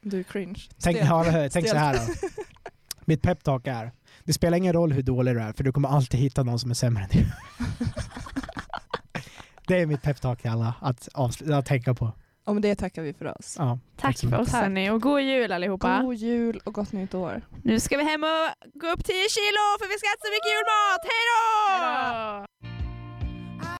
[SPEAKER 1] Du är cringe.
[SPEAKER 3] Tänk,
[SPEAKER 1] Stel.
[SPEAKER 3] *laughs* ja, tänk så
[SPEAKER 1] Stelt. *laughs*
[SPEAKER 3] här då. Mitt peptalk är, det spelar ingen roll hur dålig du är för du kommer alltid hitta någon som är sämre än dig. Det är mitt peptalk till alla att, avsluta, att tänka på.
[SPEAKER 1] Och med det tackar vi för oss.
[SPEAKER 3] Ja,
[SPEAKER 2] Tack
[SPEAKER 3] så
[SPEAKER 2] för
[SPEAKER 3] mycket.
[SPEAKER 2] oss hörni och god jul allihopa.
[SPEAKER 1] God jul och gott nytt år.
[SPEAKER 2] Nu ska vi hem och gå upp 10 kilo för vi ska äta så mycket julmat. Hej då!